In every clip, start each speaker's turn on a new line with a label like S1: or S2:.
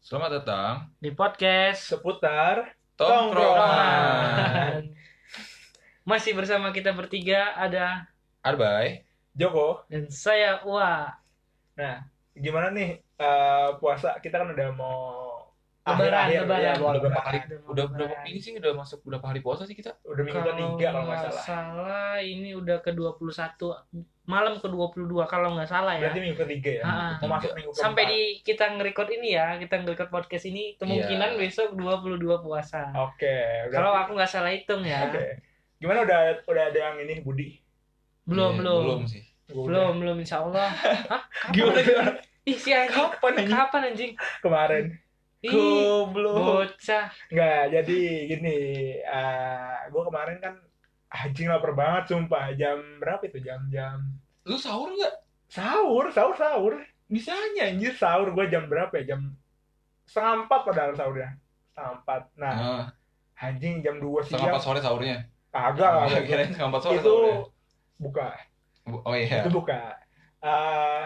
S1: Selamat datang
S2: di podcast
S3: seputar
S1: Tongkrongan.
S2: Tongkrongan. Masih bersama kita bertiga ada
S1: Arbay.
S3: Joko.
S2: dan saya Wa.
S3: Nah, gimana nih eh, puasa? Kita kan udah mau
S2: Lebaran, Iya,
S3: akhir-akhir,
S2: lebaran.
S3: ya, mau
S1: Udah berapa
S3: lebaran.
S1: kali?
S2: Udah mau
S1: Udah berapa
S2: lebaran.
S1: ini sih udah masuk berapa hari puasa sih kita?
S3: Udah minggu ketiga kalau nggak salah.
S2: salah, ini udah ke-21 malam ke-22 kalau nggak salah ya.
S3: Berarti minggu ketiga ya.
S2: Ah, ah.
S3: Mau
S1: Iya,
S3: masuk minggu keempat.
S2: Sampai di kita nge-record ini ya, kita nge-record podcast ini kemungkinan
S1: Iya.
S2: besok 22 puasa.
S3: Oke, udah.
S2: Kalau aku nggak salah hitung
S3: Oke.
S2: ya.
S3: Gimana udah udah ada yang ini Budi?
S2: Belum,
S1: Iya,
S2: belum.
S1: Belum sih.
S3: Gua udah.
S2: Belum, belum insya Allah. Hah? Kapan?
S3: Gimana gimana?
S2: Ih, si anjing.
S3: Kapan ini?
S2: Kapan anjing?
S3: Kemarin.
S2: Ih,
S3: Goblok.
S2: bocah.
S3: Enggak, jadi gini, eh gue kemarin kan anjing lapar banget sumpah. Jam berapa itu? Jam-jam
S1: Lu sahur nggak?
S3: sahur, sahur, sahur.
S1: Bisanya.
S3: anjir sahur gue jam berapa ya jam setengah empat padahal sahurnya setengah empat
S2: Ah.
S3: nah
S1: Nah,
S3: anjing jam dua
S1: setengah
S3: siang
S1: empat sore sahurnya.
S3: kagak lah,
S1: Iya, kirain setengah empat sore
S3: itu
S1: sahurnya.
S3: buka
S1: Bu- Oh iya.
S3: itu buka Eh,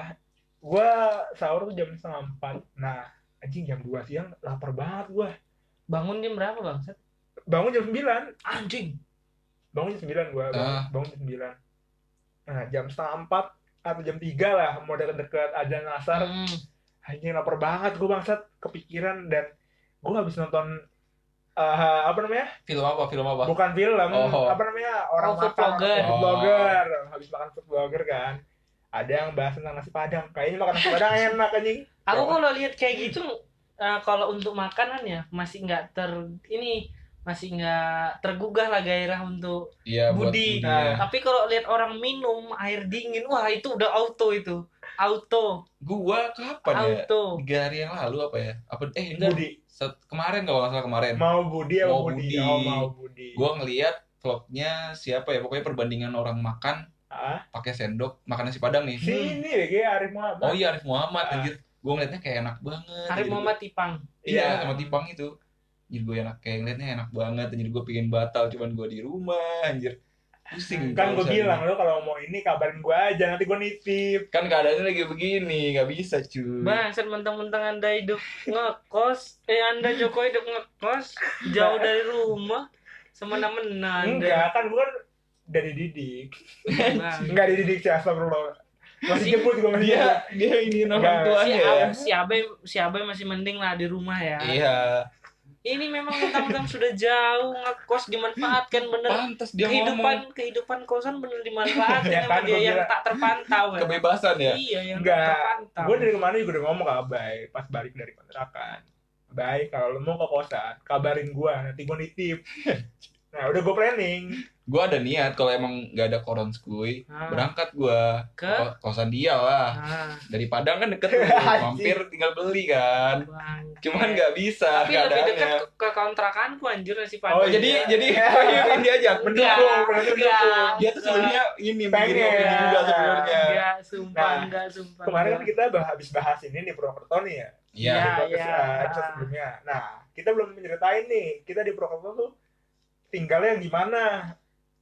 S3: gue sahur tuh jam setengah empat nah anjing jam dua siang lapar banget gue
S2: Bangun jam berapa, Bang?
S3: bangun jam sembilan
S2: Anjing.
S3: bangun jam sembilan gue bangun,
S1: Ah.
S3: bangun jam sembilan nah jam setengah empat atau jam tiga lah mau deket-deket azan asar
S2: Hmm.
S3: anjing lapar banget gue bangsat kepikiran dan gue habis nonton eh, apa namanya
S1: Film apa? Film apa?
S3: Bukan film,
S1: Oh.
S3: apa namanya?
S2: Oh,
S3: Orang makan,
S2: food blogger.
S3: food blogger. Habis makan food blogger kan. Ada yang bahas tentang nasi padang. Kayaknya makan nasi padang enak anjing.
S2: Aku kalau lihat kayak gitu eh, kalau untuk makanan ya masih nggak ter ini masih nggak tergugah lah gairah untuk.
S1: Iya, buat
S2: Budi. Ah.
S1: budinya.
S2: Tapi kalau lihat orang minum air dingin, wah itu udah auto itu. Auto,
S1: Gua kapan ya?
S2: auto.
S1: Tiga hari yang lalu apa ya? Apa eh enggak.
S3: Budi,
S1: Set- kemarin kalau nggak salah kemarin.
S3: mau Budi ya
S1: Mau
S3: Budi.
S1: Budi.
S3: Oh, mau Budi.
S1: Gua ngeliat vlognya siapa ya? Pokoknya perbandingan orang makan
S3: Ah,
S1: pakai sendok makan nasi padang nih.
S3: sini deh kayak Arif Muhammad.
S1: Oh iya Arif Muhammad
S3: Ah.
S1: anjir. Gue ngeliatnya kayak enak banget.
S2: Arif
S1: Jadi
S2: Muhammad Tipang.
S1: gua- Iya,
S3: Iya.
S1: sama Tipang itu. Jadi gue enak kayak ngeliatnya enak banget. Jadi gue pengen batal cuman gue di rumah anjir. Pusing.
S3: Kan gue
S1: urusan
S3: bilang
S1: ini.
S3: lo kalau mau ini kabarin gue aja nanti gue nitip.
S1: Kan keadaannya lagi begini, nggak bisa cuy.
S2: Bangsat mentang-mentang Anda hidup ngekos, eh Anda Jokowi hidup ngekos jauh dari rumah semena-mena Anda.
S3: Enggak, kan gue kan udah dididik.
S2: Bang.
S3: Enggak dididik sih astagfirullah. Masih jemput
S2: Iya.
S3: juga masih. jemput.
S1: Dia dia ini
S3: Nggak.
S1: orang
S2: Si
S1: tuanya.
S2: Ab- si Abe, si Abe masih mending lah di rumah ya.
S1: Iya.
S2: Ini memang mentang-mentang sudah jauh ngekos dimanfaatkan bener.
S1: Pantas dia
S2: kehidupan
S1: ngomong Iya
S2: kehidupan kosan bener dimanfaatkan
S3: Ya
S2: sama
S3: kan,
S2: dia
S3: gua
S2: yang
S3: bilang.
S2: tak terpantau ya.
S1: kebebasan ya.
S2: Iya yang
S3: Nggak.
S2: tak terpantau.
S3: Gue dari kemarin juga udah ngomong ke Abai pas balik dari kontrakan. Baik, kalau lo mau ke kosan, kabarin gue, nanti gue nitip. nah, udah gue planning.
S1: Gue ada niat kalau emang nggak ada koron skuy,
S2: Ah,
S1: berangkat gue
S2: ke
S1: kosan dia lah.
S2: ah,
S1: Dari Padang kan deket tuh, mampir tinggal beli kan.
S2: bang.
S1: cuman nggak bisa
S2: Iya. Tapi lebih dekat
S1: keadaannya
S2: ke, ke kontrakanku anjir si Pak.
S3: Oh,
S1: oh jadi
S3: Iya.
S1: jadi ini dia aja
S2: Enggak.
S1: Iya.
S3: Mendukung, berarti
S2: Enggak.
S3: mendukung.
S1: dia tuh sebenarnya ini
S3: Pengen.
S1: begini opini juga sebenarnya
S2: enggak sumpah
S3: Nah,
S2: enggak sumpah.
S3: Kemarin kan
S1: ya.
S2: enggak.
S3: kita bah- habis bahas ini di Purwokerto nih ya.
S1: iya
S2: Iya.
S3: di podcast,
S2: iya.
S3: eh, episode sebelumnya. Nah, kita belum menceritain nih, kita di Purwokerto tuh tinggalnya yang gimana.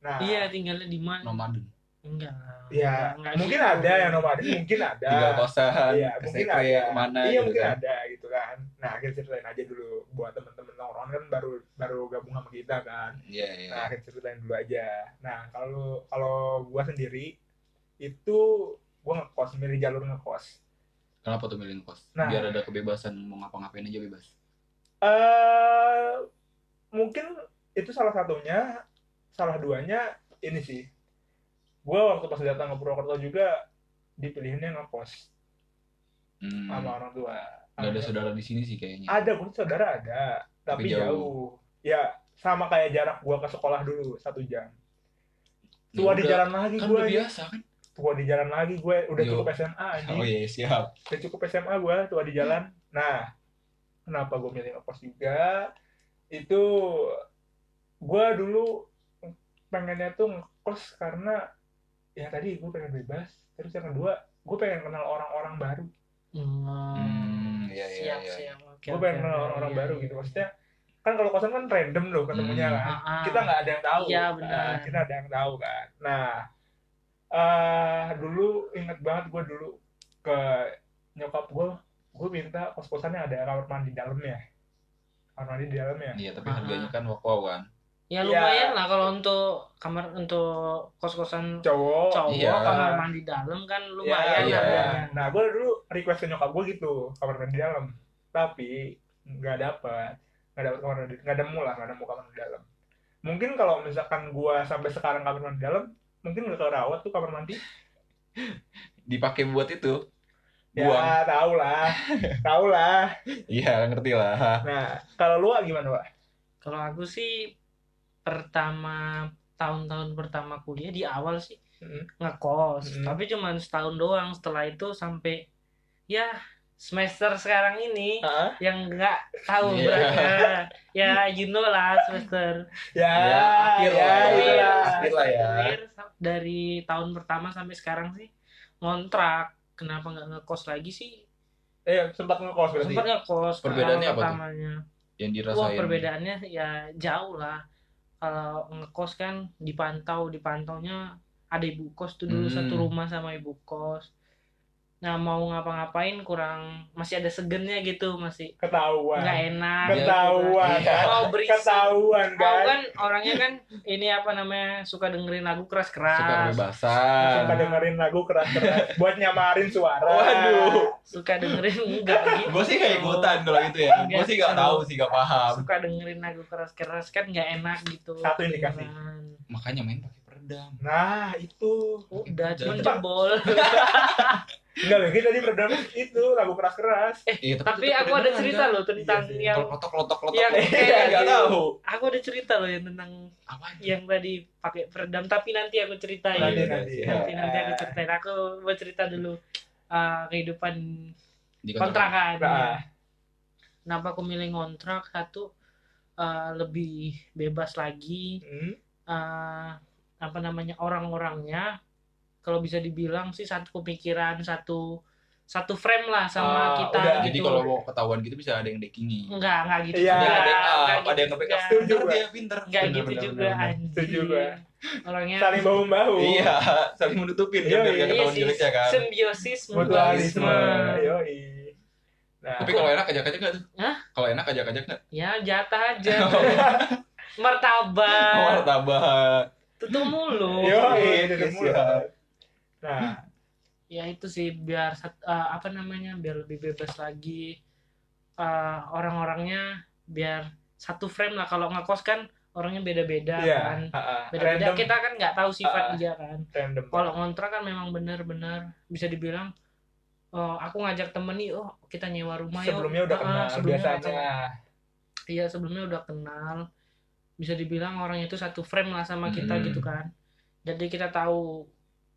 S3: Nah,
S2: Iya tinggalnya di mana?
S1: nomaden
S2: Enggak.
S1: Iya,
S3: ya,
S2: Enggak
S3: mungkin
S2: gitu.
S3: ada yang nomaden, mungkin ada.
S1: tinggal kosan
S3: Iya,
S1: ke
S3: mungkin
S1: sekre,
S3: ada.
S1: kemana
S3: iya,
S1: gitu
S3: mungkin
S1: kan
S3: ada gitu kan. Nah, kita ceritain aja dulu buat temen-temen nongkrong kan baru baru gabung sama kita kan.
S1: iya iya
S3: Nah, kita ceritain dulu aja. Nah, kalau kalau gua sendiri itu gua ngekos milih jalur ngekos.
S1: kenapa tuh milih kos
S3: Nah.
S1: biar ada kebebasan mau ngapa-ngapain aja bebas
S3: Eh mungkin itu salah satunya, salah duanya ini sih. Gua waktu pas datang ke Purwokerto juga dipilihinnya ngekos
S1: hmm.
S3: sama orang tua.
S1: nggak ada saudara di sini sih kayaknya
S3: Ada, gue saudara ada,
S1: Tapi
S3: tapi,
S1: jauh.
S3: jauh. Ya, sama kayak jarak gua ke sekolah dulu satu jam.
S1: Ya
S3: Tua di
S1: udah.
S3: jalan lagi
S1: kan
S3: gue,
S1: udah biasa kan
S3: tua di jalan lagi gue, udah
S1: Yo.
S3: cukup SMA anjing.
S1: oh iya siap
S3: Udah cukup SMA gue, tua di jalan. Nah, kenapa gue milih ngekos juga? Itu gua dulu pengennya tuh ngekos karena ya tadi gue pengen bebas. Terus yang kedua, gue pengen kenal orang-orang baru.
S1: Hmm, iya, iya,
S2: siap,
S1: iya.
S2: siap. Oke,
S3: gue
S2: oke,
S3: pengen kenal
S2: oke,
S3: orang-orang
S2: iya,
S3: baru
S2: iya.
S3: gitu. Maksudnya kan kalau kosan kan random loh
S1: Hmm.
S3: ketemunya kan.
S2: Ah, ah.
S3: kita nggak ada yang tahu
S2: Iya,
S3: kan.
S2: benar.
S3: kita ada yang tahu kan nah ah, eh dulu inget banget gue dulu ke nyokap gue gue minta kos-kosan yang ada kamar mandi dalamnya kamar mandi di dalamnya
S1: Iya, tapi
S2: Ah.
S1: harganya kan wow kan.
S2: Ya
S3: Iya.
S2: lumayan lah kalau untuk kamar untuk kos-kosan
S3: cowok
S2: cowok
S1: Iya.
S2: kamar mandi dalam kan
S3: Iya,
S2: lumayan
S1: iya.
S2: harganya.
S3: Nah, gue dulu request ke nyokap gue gitu, kamar mandi dalam. Tapi nggak dapat, nggak dapat kamar mandi, nggak nemu lah, nggak nemu kamar mandi dalam. Mungkin kalau misalkan gue sampai sekarang kamar mandi dalam, mungkin nggak kerawat tuh kamar mandi.
S1: Dipakai buat itu. Buang.
S3: Ya, tau lah, tau lah.
S1: Iya, ngerti lah.
S3: Nah, kalau lu Wak, gimana pak?
S2: Kalau aku sih pertama tahun-tahun pertama kuliah di awal sih
S1: Hmm.
S3: Mm.
S2: ngekos,
S3: Mm.
S2: tapi cuman setahun doang. Setelah itu sampai ya semester sekarang ini yang nggak tahu
S1: Iya.
S2: berapa. Ya you know lah semester.
S3: Ya,
S1: Ya, akhir
S3: ya,
S1: lah ya.
S3: itulah.
S1: Akhir lah ya.
S2: Terakhir, sa- dari tahun pertama sampai sekarang sih ngontrak. Kenapa nggak ngekos lagi sih?
S3: Eh, sempat ngekos berarti.
S2: Sempat ngekos. ke
S1: Perbedaannya
S2: awal
S1: apa tuh?
S2: pertamanya.
S1: Yang
S2: Wah,
S1: dirasain.
S2: perbedaannya ya jauh lah. Kalau ngekos kan dipantau, dipantaunya ada ibu kos tuh dulu
S1: Hmm.
S2: satu rumah sama ibu kos. Nah, mau ngapa-ngapain kurang masih ada segennya gitu, masih
S3: Ketahuan,
S2: nggak enak. gitu kan.
S3: ketahuan,
S1: Iya.
S3: kan?
S2: Mau berisik.
S3: ketahuan
S2: Aku
S3: kan.
S2: kan orangnya kan ini apa namanya suka dengerin lagu
S1: Suka
S2: keras-keras, suka,
S1: kebebasan.
S3: Suka dengerin lagu keras-keras buat nyamarin suara.
S1: Waduh.
S2: dengerin enggak gitu.
S1: Gue sih kayak ikutan kalau gitu ya. Gue sih gak tahu sih, gak paham.
S2: Suka dengerin lagu keras-keras kan nggak enak gitu.
S3: Satu indikasi.
S2: Kedengeran.
S1: Makanya main pakai peredam.
S3: Nah, itu.
S2: Udah, cuman
S1: Jangan.
S2: jebol.
S3: Enggak lagi tadi program itu lagu keras-keras.
S1: Iya,
S2: Eh, Tapi
S1: tetep
S2: aku ada
S1: peredam
S2: cerita
S1: ada.
S2: loh tentang
S3: Iya sih.
S2: yang
S1: Kalau kotok lotok lotok.
S2: Iya,
S1: lotok.
S2: iya,
S1: eh, Nggak
S3: gitu.
S2: iya.
S1: tahu.
S2: aku ada cerita loh yang tentang
S1: Apa?
S2: yang tadi pakai peredam tapi nanti aku ceritain.
S1: Iya,
S3: Nanti
S1: iya,
S3: nanti.
S1: iya.
S2: Nanti nanti aku ceritain. Aku mau cerita dulu uh, kehidupan
S1: Di
S2: kontrakan.
S1: Ah.
S3: Nah.
S2: Kenapa aku milih ngontrak? Satu uh, lebih bebas lagi
S3: Hmm,
S2: uh, apa namanya orang-orangnya kalau bisa dibilang sih satu pemikiran, satu satu frame lah sama
S3: Ah,
S2: kita
S3: udah.
S2: gitu.
S1: Jadi kalau mau ketahuan gitu bisa ada yang deckingi.
S2: Enggak, enggak gitu.
S3: Iya.
S2: juga.
S1: Ada yang
S2: Enggak
S1: backup,
S2: gitu
S1: ada yang nge-backup.
S2: juga.
S3: Setuju
S1: Pinter
S3: gue.
S1: dia, pinter.
S2: Enggak
S1: Bener,
S2: gitu
S1: bener,
S2: juga
S1: bener, bener.
S2: anjing.
S3: Setuju gue.
S2: Orangnya
S3: Saling bahu-bahu.
S1: Iya, saling menutupin kan biar
S3: Iya, iya,
S1: nggak ketahuan
S2: sih,
S1: jeleknya kan.
S2: iya. Simbiosis
S3: Mutualisme. Iya.
S2: mutualisme.
S3: Yoi. Nah,
S1: Tapi kalau enak ajak-ajak nggak tuh?
S2: Hah?
S1: Kalau enak ajak-ajak nggak?
S2: Ya jatah aja. Martabak.
S1: Martabak.
S2: Tutup mulu.
S3: yoi,
S1: Iya,
S3: dari
S1: iya.
S3: mulut. Nah,
S2: Ya itu sih biar sat- eh, apa namanya? Biar lebih bebas lagi Eh, orang-orangnya biar satu frame lah kalau ngekos kan orangnya beda-beda
S3: iya.
S2: kan.
S3: ah, ah,
S2: Beda-beda
S3: Random,
S2: kita kan nggak tahu sifat
S3: Ah.
S2: dia kan.
S3: random.
S2: kalau ngontrak kan memang benar-benar bisa dibilang oh, aku ngajak temen nih oh kita nyewa rumah yuk.
S3: Sebelumnya udah
S2: Ah,
S3: kenal
S2: sebelumnya udah
S3: biasanya.
S2: kenal. iya sebelumnya udah kenal bisa dibilang orang itu satu frame lah sama kita
S3: Hmm.
S1: Mm.
S2: gitu kan jadi kita tahu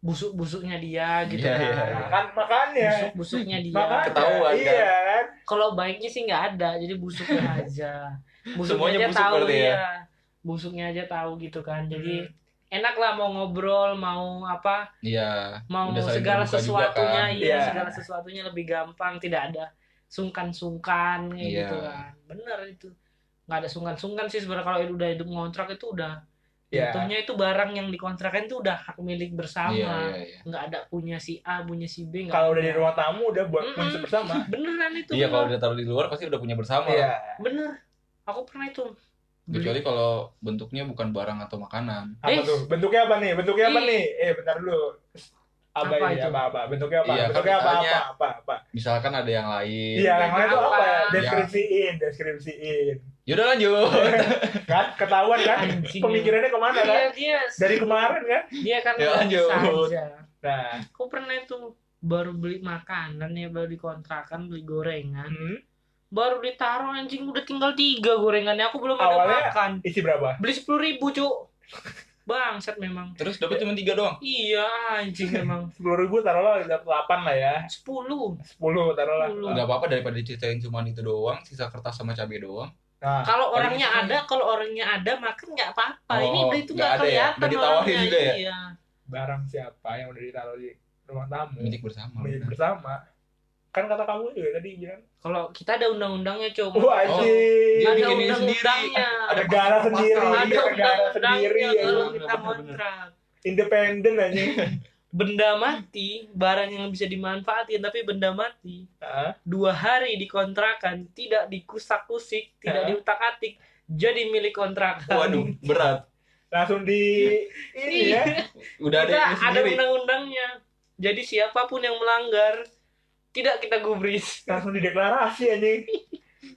S2: busuk-busuknya dia gitu
S1: Iya,
S2: kan
S1: iya,
S3: Nah, kan makanya.
S2: Iya, busuk-busuknya dia
S3: Makanya.
S1: Ketahuan, kan?
S3: Iya kan?
S2: kalau baiknya sih nggak ada jadi busuknya aja
S1: Semuanya
S2: busuknya aja
S1: busuk
S2: tahu
S1: berarti ya?
S2: ya busuknya aja tahu gitu kan jadi
S3: Hmm.
S2: enak lah mau ngobrol mau apa
S1: Iya.
S2: mau
S1: Udah saling
S2: segala
S1: terbuka juga,
S2: sesuatunya
S1: kan?
S2: iya
S3: Iya.
S2: segala sesuatunya lebih gampang tidak ada sungkan-sungkan kayak
S1: Iya.
S2: gitu kan bener itu nggak ada sungkan-sungkan sih sebenarnya kalau udah hidup ngontrak itu udah
S3: Iya.
S2: jatuhnya itu barang yang dikontrakan itu udah hak milik
S1: Iya,
S2: bersama
S1: iya, iya.
S2: nggak ada punya si A punya si B nggak
S3: Kalau
S2: ada.
S3: udah di ruang tamu udah buat
S2: Iya, Mm-mm.
S3: kunci bersama.
S2: beneran itu
S1: Iya, kalau
S2: bener.
S1: udah taruh di luar pasti udah punya bersama.
S3: Iya.
S2: bener aku pernah itu
S1: Kecuali kalau bentuknya bukan barang atau makanan.
S3: Apa
S2: Eh.
S3: tuh? Bentuknya apa nih? Bentuknya apa
S2: Ih.
S3: nih? Eh, bentar dulu. Apa,
S2: Apa
S3: ini?
S2: itu?
S3: Apa apa? Bentuknya apa?
S1: Iya, kan
S3: bentuknya apa, apa
S1: misalnya-
S3: apa apa?
S1: Misalkan ada yang lain.
S3: Iya, yang lain itu
S2: Apa?
S3: apa? Deskripsiin, deskripsiin.
S1: Yaudah lanjut.
S3: Kan ketahuan kan?
S2: Anjing.
S3: Pemikirannya kemana kan?
S2: Iya, dia
S3: Dari kemarin kan?
S2: dia kan
S1: Ya, lanjut.
S2: saja
S3: Nah,
S2: aku pernah itu baru beli makanan ya baru dikontrakan beli gorengan
S3: hmm,
S2: baru ditaruh anjing udah tinggal tiga gorengannya aku belum
S3: Awalnya-
S2: ada makan
S3: isi berapa?
S2: beli sepuluh ribu cuk bangsat memang
S1: Terus dapat cuma tiga doang.
S2: iya anjing memang
S3: Sepuluh ribu taruhlah delapan lah ya.
S2: sepuluh
S3: Sepuluh taruhlah.
S2: Sepuluh.
S1: Enggak apa-apa daripada diceritain cuma itu doang, sisa kertas sama cabai doang.
S3: Nah,
S2: kalau orangnya
S1: gitu.
S2: ada kalau orangnya ada makan nggak apa-apa
S1: Oh,
S2: ini beli itu
S1: nggak
S2: nggak
S1: ada ya?
S2: kelihatan
S1: Udah ditawarin
S2: orangnya.
S1: juga ya?
S2: iya
S3: barang siapa yang udah ditaruh di ruang tamu?
S1: Milik bersama.
S3: Milik
S1: benar.
S3: bersama. Kan kata kamu juga tadi bilang,
S2: kalau kita ada undang-undangnya cuma
S3: wah anjing.
S1: Jadi
S2: Oh. ada
S1: ini
S2: undang-undangnya
S1: Ada
S3: negara
S1: pasal-pasal.
S3: sendiri,
S2: ada
S3: negara sendiri.
S2: undang-undangnya
S1: Bener,
S2: kalau
S3: ya.
S2: kita
S1: bener, bener.
S2: kontrak
S3: Independen aja.
S2: benda mati barang yang bisa dimanfaatin tapi benda mati
S3: Nah,
S2: dua hari dikontrakan tidak dikusak kusik
S3: Ah.
S2: tidak diutak atik jadi milik kontrakan
S1: Waduh,
S3: Iya.
S1: berat.
S3: langsung di ini ya
S1: Udah ada
S2: Udah,
S1: ini
S2: ada
S1: sendiri.
S2: undang-undangnya jadi siapapun yang melanggar tidak kita gubris
S3: langsung dideklarasi anjing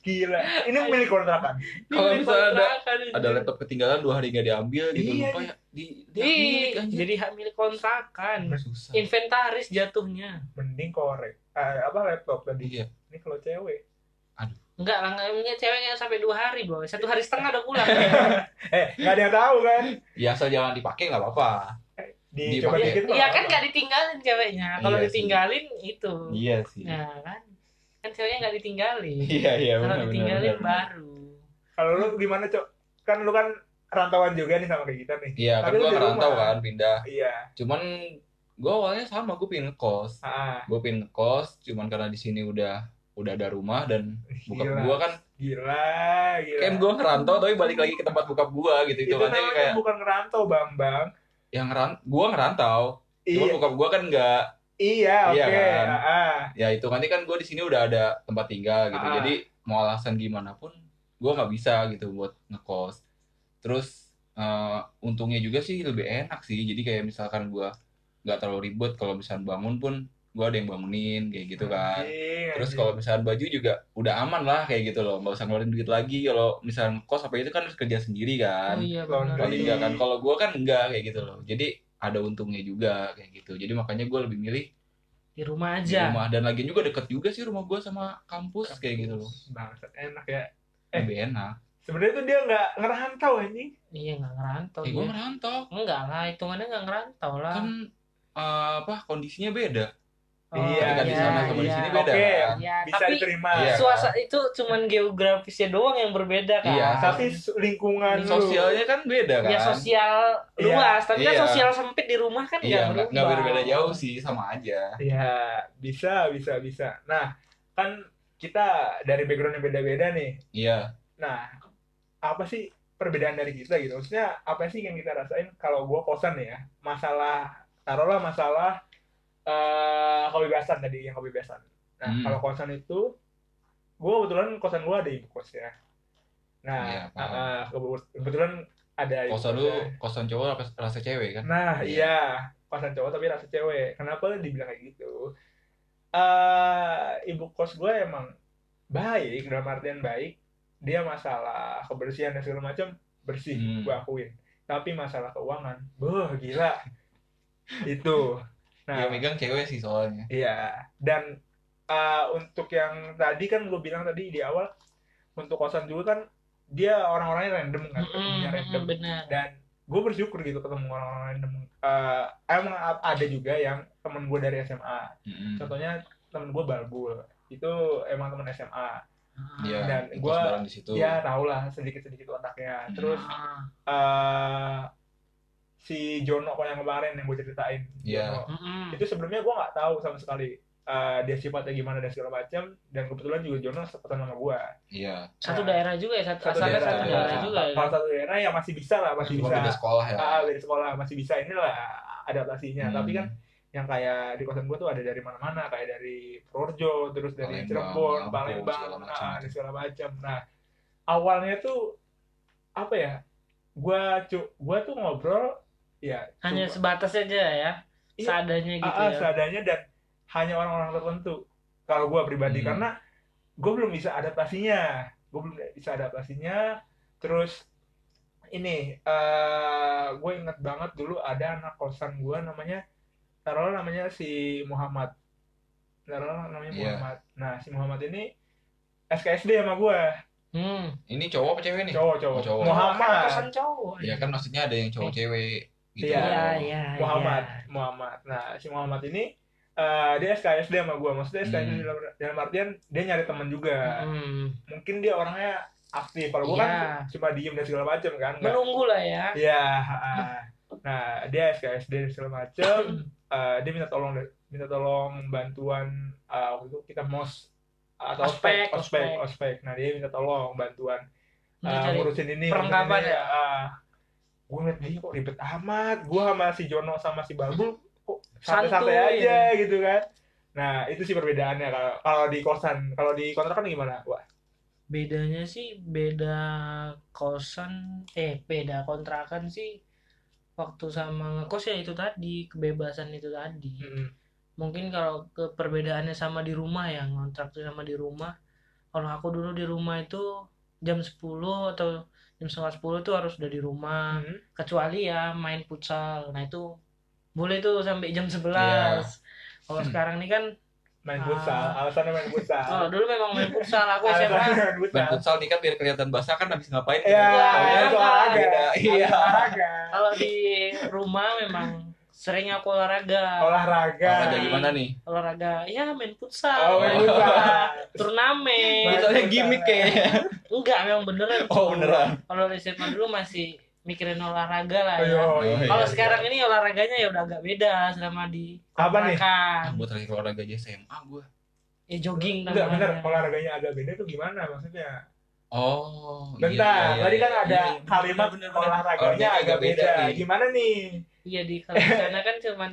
S3: gila ini milik kontrakan
S2: Ini
S1: Kalau
S2: milik
S1: misalnya ada-
S2: kontrakan, anjir.
S1: Ada laptop ketinggalan dua hari nggak diambil gitu
S3: Iya, Iya.
S1: lupa ya. Di, di,
S2: Ih,
S1: anjir.
S2: jadi hak milik kontrakan
S1: susah.
S2: inventaris jatuhnya
S3: mending korek Eh, apa laptop tadi
S1: Iya.
S3: ini kalau cewek
S2: enggak lah enggak enggak, cewek nggak sampai dua hari bang satu hari setengah udah pulang
S3: eh nggak ada yang tahu kan
S1: Ya asal jangan dipakai nggak apa-apa.
S3: dicoba
S1: Dipakai.
S3: dikit
S2: Iya kan nggak ditinggalin ceweknya. Kalau
S1: Iya sih.
S2: ditinggalin itu.
S1: Iya sih.
S2: Nah kan kan ceweknya nggak ditinggalin.
S1: Iya iya
S2: Kalau
S1: benar benar.
S2: ditinggalin
S1: benar.
S2: baru.
S3: kalau lu gimana cok kan lu kan rantauan juga nih sama kayak kita nih
S1: Iya, kan
S3: Tapi lu
S1: gua
S3: di
S1: ngerantau
S3: rumah.
S1: kan pindah.
S3: iya
S1: Cuman gua awalnya sama gua pingin ngekos.
S3: ah
S1: Gua pingin ngekos cuman karena di sini udah udah ada rumah dan bokap
S3: Gila.
S1: gua kan
S3: gila gila
S1: kayak gua ngerantau tapi balik lagi ke tempat bokap gua gitu.
S3: itu
S1: Itu kan
S3: namanya
S1: kayak
S3: bukan ngerantau bambang
S1: yang ngeran gua ngerantau. Cuman
S3: iya
S1: bokap gua kan nggak
S3: iya oke
S1: Iya kan?
S3: Ah, ah.
S1: ya itu kan ini kan gue di sini udah ada tempat tinggal gitu
S3: Ah.
S1: jadi mau alasan gimana pun gue nggak bisa gitu buat ngekos terus eh, untungnya juga sih lebih enak sih jadi kayak misalkan gue nggak terlalu ribet kalau misalkan bangun pun gue ada yang bangunin kayak gitu kan
S3: Anjing,
S1: terus
S3: anjing.
S1: kalau misalkan baju juga udah aman lah kayak gitu loh nggak usah ngeluarin duit lagi kalau misalkan ngekos apa itu kan harus kerja sendiri
S2: Oh
S1: kan
S2: iya
S3: Laundry.
S1: kalau
S2: benar.
S1: tiga kan kalau gue kan enggak kayak gitu loh jadi ada untungnya juga kayak gitu jadi makanya gue lebih milih
S2: Di rumah
S1: di
S2: aja.
S1: rumah dan lagi juga deket juga sih rumah gue sama kampus, kayak gitu loh
S3: Bangsat, enak ya Eh.
S1: lebih enak
S3: sebenarnya tuh dia nggak ngerantau anjing
S2: Iya nggak ngerantau.
S1: eh,
S2: dia.
S1: gue merantau
S2: Enggak lah, hitungannya nggak ngerantau
S3: Ah.
S2: lah.
S1: kan eh, apa kondisinya beda
S2: Oh,
S1: ketika
S3: Iya,
S1: di
S3: iya,
S1: sana sama di
S2: iya.
S1: sini beda
S3: Oke.
S1: kan?
S2: Iya,
S3: bisa
S2: tapi
S3: diterima
S1: Iya.
S2: suasana itu cuman geografisnya doang yang berbeda kan.
S1: Iya,
S3: tapi su- lingkungan lu
S1: sosialnya kan beda kan
S2: Ya sosial
S3: Iya.
S2: luas, tapi kan
S1: Iya.
S2: sosial sempit di rumah kan nggak
S1: iya nggak nggak
S2: berubah.
S1: berbeda jauh sih sama aja
S3: ya bisa bisa bisa nah kan kita dari background yang beda-beda nih
S1: iya
S3: Nah, apa sih perbedaan dari kita gitu? Maksudnya apa sih yang kita rasain kalau gua kosan ya? Masalah taruhlah masalah eh kebebasan tadi yang kebebasan. Nah,
S1: Hmm.
S3: kalau kosan itu gua kebetulan kosan gua ada ibu kos ya. Nah,
S1: Iya,
S3: eh,
S1: paham.
S3: eh, kebe- kebetulan ada ibu
S1: kosan
S3: kos
S1: lu
S3: ya.
S1: kosan cowok apa rasa cewek kan
S3: Nah,
S1: Iya.
S3: iya, kosan cowok tapi rasa cewek. Kenapa dibilang kayak gitu? Eh, ibu kos gue emang baik, dalam artian baik. Dia masalah kebersihan dan segala macam bersih,
S1: Hmm.
S3: gue akuin. Tapi masalah keuangan, beuh gila. Itu.
S1: dia
S3: Nah,
S1: megang cewek sih soalnya
S3: iya. Dan eh, untuk yang tadi kan gue bilang tadi di awal, untuk kosan juga kan dia orang-orangnya random kan, ketemunya random
S2: benar.
S3: dan gue bersyukur gitu ketemu orang-orang random Eh, emang a- ada juga yang temen gue dari SMA
S1: Mm-mm.
S3: contohnya temen gue balbul itu emang temen SMA
S1: Iya,
S3: Dan
S1: ngekos
S3: gua- ya,
S1: bareng di situ
S3: dia tau lah sedikit-sedikit otaknya
S1: Hmm.
S3: terus
S2: Ah,
S3: eh si Jono kok yang kemarin yang gue ceritain
S1: Iya.
S3: Jono. itu sebelumnya gue nggak tahu sama sekali eh, dia sifatnya gimana dan segala macam dan kebetulan juga Jono sepetan sama gue
S1: iya
S2: Satu
S3: Nah,
S2: daerah juga ya, satu,
S3: satu
S2: asalnya
S1: daerah,
S2: satu
S1: iya.
S2: daerah juga ya.
S3: kalau satu daerah ya masih bisa lah masih
S1: cuma
S3: bisa
S1: beda sekolah ya
S3: Ah, dari sekolah masih bisa inilah adaptasinya tapi kan
S1: Hmm.
S3: yang kayak di kosan gue tuh ada dari mana-mana kayak dari Purworejo terus dari
S1: Palembang, Lampung,
S3: Cirebon
S1: segala
S3: Palembang
S1: macam.
S3: nah, dan segala macam nah awalnya tuh apa ya gue cu gua tuh ngobrol ya
S2: Hanya
S3: cuma-
S2: sebatas aja ya,
S3: Iya.
S2: seadanya
S3: ah,
S2: gitu
S3: ah,
S2: ya.
S3: seadanya dan hanya orang-orang tertentu kalau gue pribadi
S1: Hmm.
S3: karena gue belum bisa adaptasinya gue belum bisa adaptasinya terus ini eh gue inget banget dulu ada anak kosan gue namanya taruhlah namanya si Muhammad taruhlah namanya
S1: Iya.
S3: Muhammad nah si Muhammad ini SKSD sama gue
S2: Hmm.
S1: ini cowok apa cewek nih
S3: cowok
S1: Oh,
S3: cowok
S1: cowok.
S2: Kan
S3: Muhammad
S2: Kosan cowok.
S1: ya kan maksudnya ada yang cowok cewek gitu
S3: Iya.
S2: Iya, iya.
S3: Muhammad,
S2: iya.
S3: Muhammad. Nah, si Muhammad ini eh, dia SKSD sama gue, maksudnya SKSD
S1: Hmm.
S3: dalam, dalam artian dia nyari teman juga.
S2: Hmm.
S3: Mungkin dia orangnya aktif, kalau gue
S2: Iya.
S3: kan cuma diem dan segala macam kan. nggak-
S2: Menunggu lah ya.
S3: Iya. ah. Nah, dia SKSD dan segala macam. Eh, dia minta tolong minta tolong bantuan eh, waktu itu kita mos atau
S2: Ospek,
S3: ospek, ospek,
S2: ospek.
S3: ospek. Nah, dia minta tolong bantuan
S2: Untuk
S3: Ah,
S2: cari
S3: ngurusin ini Ah.
S2: perlengkapan ya?
S3: gue ngeliat dia kok ribet amat gue sama si Jono sama si Balbul kok
S2: Santuy.
S3: santai-santai aja gitu kan nah itu sih perbedaannya kalau kalau di kosan kalau di kontrakan gimana wah
S2: bedanya sih beda kosan eh beda kontrakan sih waktu sama ngekos ya itu tadi kebebasan itu tadi
S3: mm,
S2: mungkin kalau ke perbedaannya sama di rumah ya ngontrak tuh sama di rumah kalau aku dulu di rumah itu jam 10 atau jam setengah 10 tuh harus udah di rumah
S3: mm.
S2: kecuali ya main futsal nah itu boleh tuh sampai jam 11
S1: Iya.
S2: kalau
S1: Hmm.
S2: sekarang nih kan
S3: main
S2: Ah.
S3: futsal alasannya main futsal
S2: oh dulu memang main futsal aku
S3: alasannya
S2: SMA
S3: main
S1: Main
S3: futsal
S1: futsal nih kan biar kelihatan basah kan habis ngapain
S3: ya
S2: Iya,
S3: itu olahraga
S1: Beda, iya.
S3: olahraga
S2: kalau di rumah memang sering aku olahraga
S3: olahraga
S1: Olahraga gimana nih?
S2: olahraga ya main
S3: oh
S2: futsal
S3: main
S1: Oh.
S3: futsal
S2: turnamen
S3: Main
S1: Futsalnya
S3: futsal.
S1: gimmick kayaknya.
S2: enggak memang beneran
S1: Oh beneran.
S2: kalau di SMA dulu masih mikirin olahraga lah ya
S3: Ayo,
S1: iya.
S2: kalau sekarang ini olahraganya ya udah agak beda selama di
S3: Apa nih?
S1: Ah,
S2: kontrakan
S1: gua terakhir olahraga aja SMA gua.
S2: ya jogging
S3: Enggak
S2: namanya.
S3: bener, olahraganya agak beda tuh gimana maksudnya?
S1: Oh,
S3: Bentar, tadi kan
S2: Iya,
S3: ada kalimat olahraganya agak beda.
S1: nih.
S3: Gimana nih?
S2: iya di kalau di sana kan cuman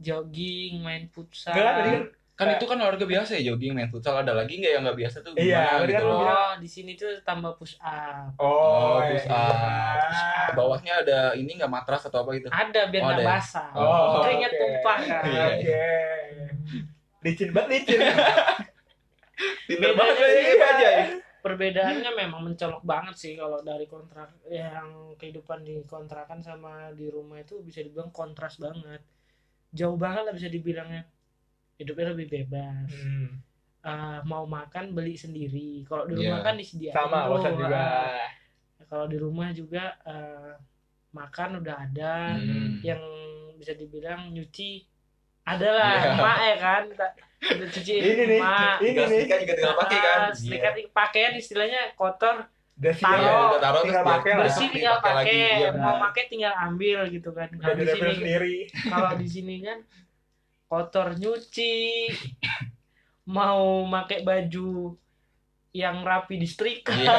S2: jogging main futsal
S3: Enggak kan tadi kan
S1: Kan itu kan olahraga biasa ya jogging main futsal ada lagi nggak yang nggak biasa tuh
S3: Iya,
S1: gimana
S3: tadi
S1: gitu
S3: kan lu
S1: loh.
S3: bilang-
S2: oh di sini tuh tambah push up
S1: Oh,
S3: iya. Ah.
S1: push up. Bawahnya ada ini nggak matras atau apa gitu.
S2: ada biar
S1: Oh,
S2: nggak
S1: ada ya?
S2: basah
S3: Oh,
S2: keringat
S3: oke.
S2: tumpah kan
S1: Iya.
S3: Oke. Licin banget licin.
S1: Tinder
S2: Bedanya
S1: banget
S2: sih,
S1: kayak gitu
S3: Pak.
S1: aja. ya.
S2: perbedaannya memang mencolok banget sih kalau dari kontrak yang kehidupan di kontrakan sama di rumah itu bisa dibilang kontras banget jauh banget lah bisa dibilangnya hidupnya lebih bebas
S3: Hmm,
S2: Eh, mau makan beli sendiri kalau di
S1: Iya.
S2: rumah kan disediain
S3: sama
S2: tuh,
S3: bosan juga.
S2: eh. kalau di rumah juga eh, makan udah ada
S1: Hmm.
S2: yang bisa dibilang nyuci adalah
S1: Iya.
S2: emak ya kan Ta- udah cuci
S3: Ini nih,
S2: emak
S3: ini
S1: Tinggal
S3: nih.
S1: setrika juga tinggal pakai kan.
S2: Ah, setrika-
S3: Iya.
S2: pakaian istilahnya kotor
S3: Dasi
S2: Taruh.
S1: Iya, udah taruh terus
S3: Tinggal
S1: biar-
S3: pakai lah.
S2: bersih
S1: Dipakai
S2: tinggal
S1: lagi,
S2: ya, pakai
S1: iya,
S2: mau
S1: benar.
S2: pakai tinggal ambil gitu kan
S3: udah
S2: kalau di
S3: direpel
S2: sini
S3: sendiri.
S2: kalau di sini kan kotor nyuci mau pakai baju yang rapi disetrika
S1: Iya.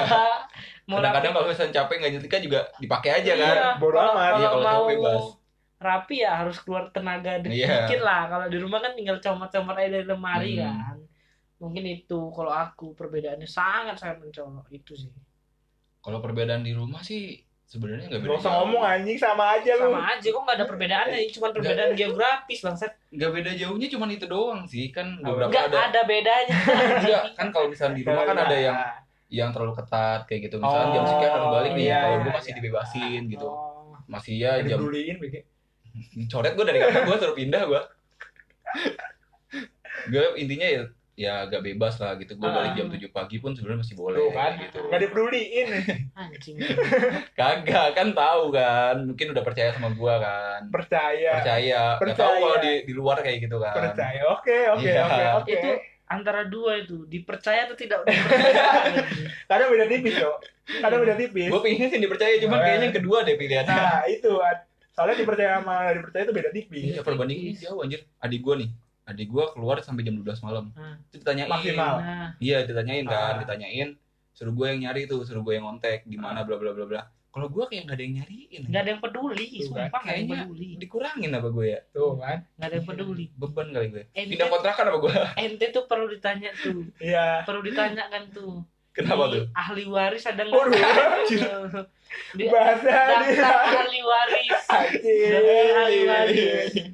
S2: mau
S1: Kadang-kadang kalau misalnya capek nggak nyetrika juga dipakai aja kan.
S2: Iya,
S3: Bodo
S2: kalau-
S3: amat.
S1: Iya,
S2: kalau
S1: kalau cowok
S2: mau
S1: bebas.
S2: rapi ya harus keluar tenaga dikit
S1: Iya.
S2: lah kalau di rumah kan tinggal comot-comot aja dari lemari
S1: Hmm.
S2: kan mungkin itu kalau aku perbedaannya sangat sangat mencolok itu sih
S1: Kalau perbedaan di rumah sih sebenarnya nggak beda.
S3: Gak usah
S1: jauh.
S3: ngomong eh. anjing sama aja lu.
S2: sama aja kok nggak ada perbedaannya cuma perbedaan geografis bangsat
S1: Nggak beda jauhnya cuman itu doang sih kan beberapa
S2: nggak
S1: ada.
S2: ada bedanya
S1: Enggak, kan kalau misalnya di rumah kan ada yang yang terlalu ketat kayak gitu. Misalnya jam
S3: Oh,
S1: sekian harus balik nih.
S2: iya,
S1: kalau
S2: iya,
S1: gue masih
S3: iya.
S1: dibebasin gitu.
S2: Oh.
S1: Masih ya jam
S3: Dibuliin begitu.
S1: coret gue dari kantor gue suruh pindah gue gue intinya ya ya agak bebas lah gitu gue balik jam 7 pagi pun sebenarnya masih boleh
S3: Tuh kan.
S1: kayak gitu
S3: Gak dipeduliin.
S2: anjing
S1: kagak kan tahu kan mungkin udah percaya sama gue kan
S3: Percaya.
S1: percaya nggak
S3: Iya. Percaya.
S1: tahu kalau di di luar kayak gitu kan
S3: Percaya. Oke, oke,
S1: Iya.
S3: oke, oke.
S2: itu antara dua itu dipercaya atau tidak dipercaya
S3: Kadang beda tipis, Cok. Kadang
S1: Iya.
S3: beda tipis.
S1: gue pengennya sih dipercaya cuman
S3: Nah.
S1: kayaknya yang kedua deh pilihannya
S3: Nah, itu Ad. soalnya dipercaya sama nggak dipercaya itu beda tipis.
S1: iya perbandingannya jauh anjir adik gue nih adik gue keluar sampai jam 12 malam
S2: Ah.
S1: itu ditanyain
S3: Maksimal.
S2: nah
S1: Iya ditanyain kan,
S3: Ah.
S1: ditanyain suruh gue yang nyari tuh, suruh gue yang ngontek
S3: Ah.
S1: gimana bla bla bla bla. Kalau gue kayak nggak ada yang nyariin,
S2: nggak ada yang peduli
S3: Tuh,
S2: sumpah nggak ada yang
S1: kayaknya.
S2: peduli
S1: dikurangin apa gue ya?
S3: Tuh kan.
S2: nggak ada yang peduli
S1: Beban kali gue.
S2: ente,
S1: Pindah kontrakan apa gue?
S2: ente tuh perlu ditanya tuh
S3: Iya.
S2: perlu ditanyakan tuh
S1: Kenapa
S2: Di
S1: tuh?
S2: ahli waris ada nggak
S3: Waduh,
S2: Di-
S3: Iya. bahasa dia.
S2: daftar ahli waris Daftar
S1: Iya,
S2: ahli waris
S3: Anjing.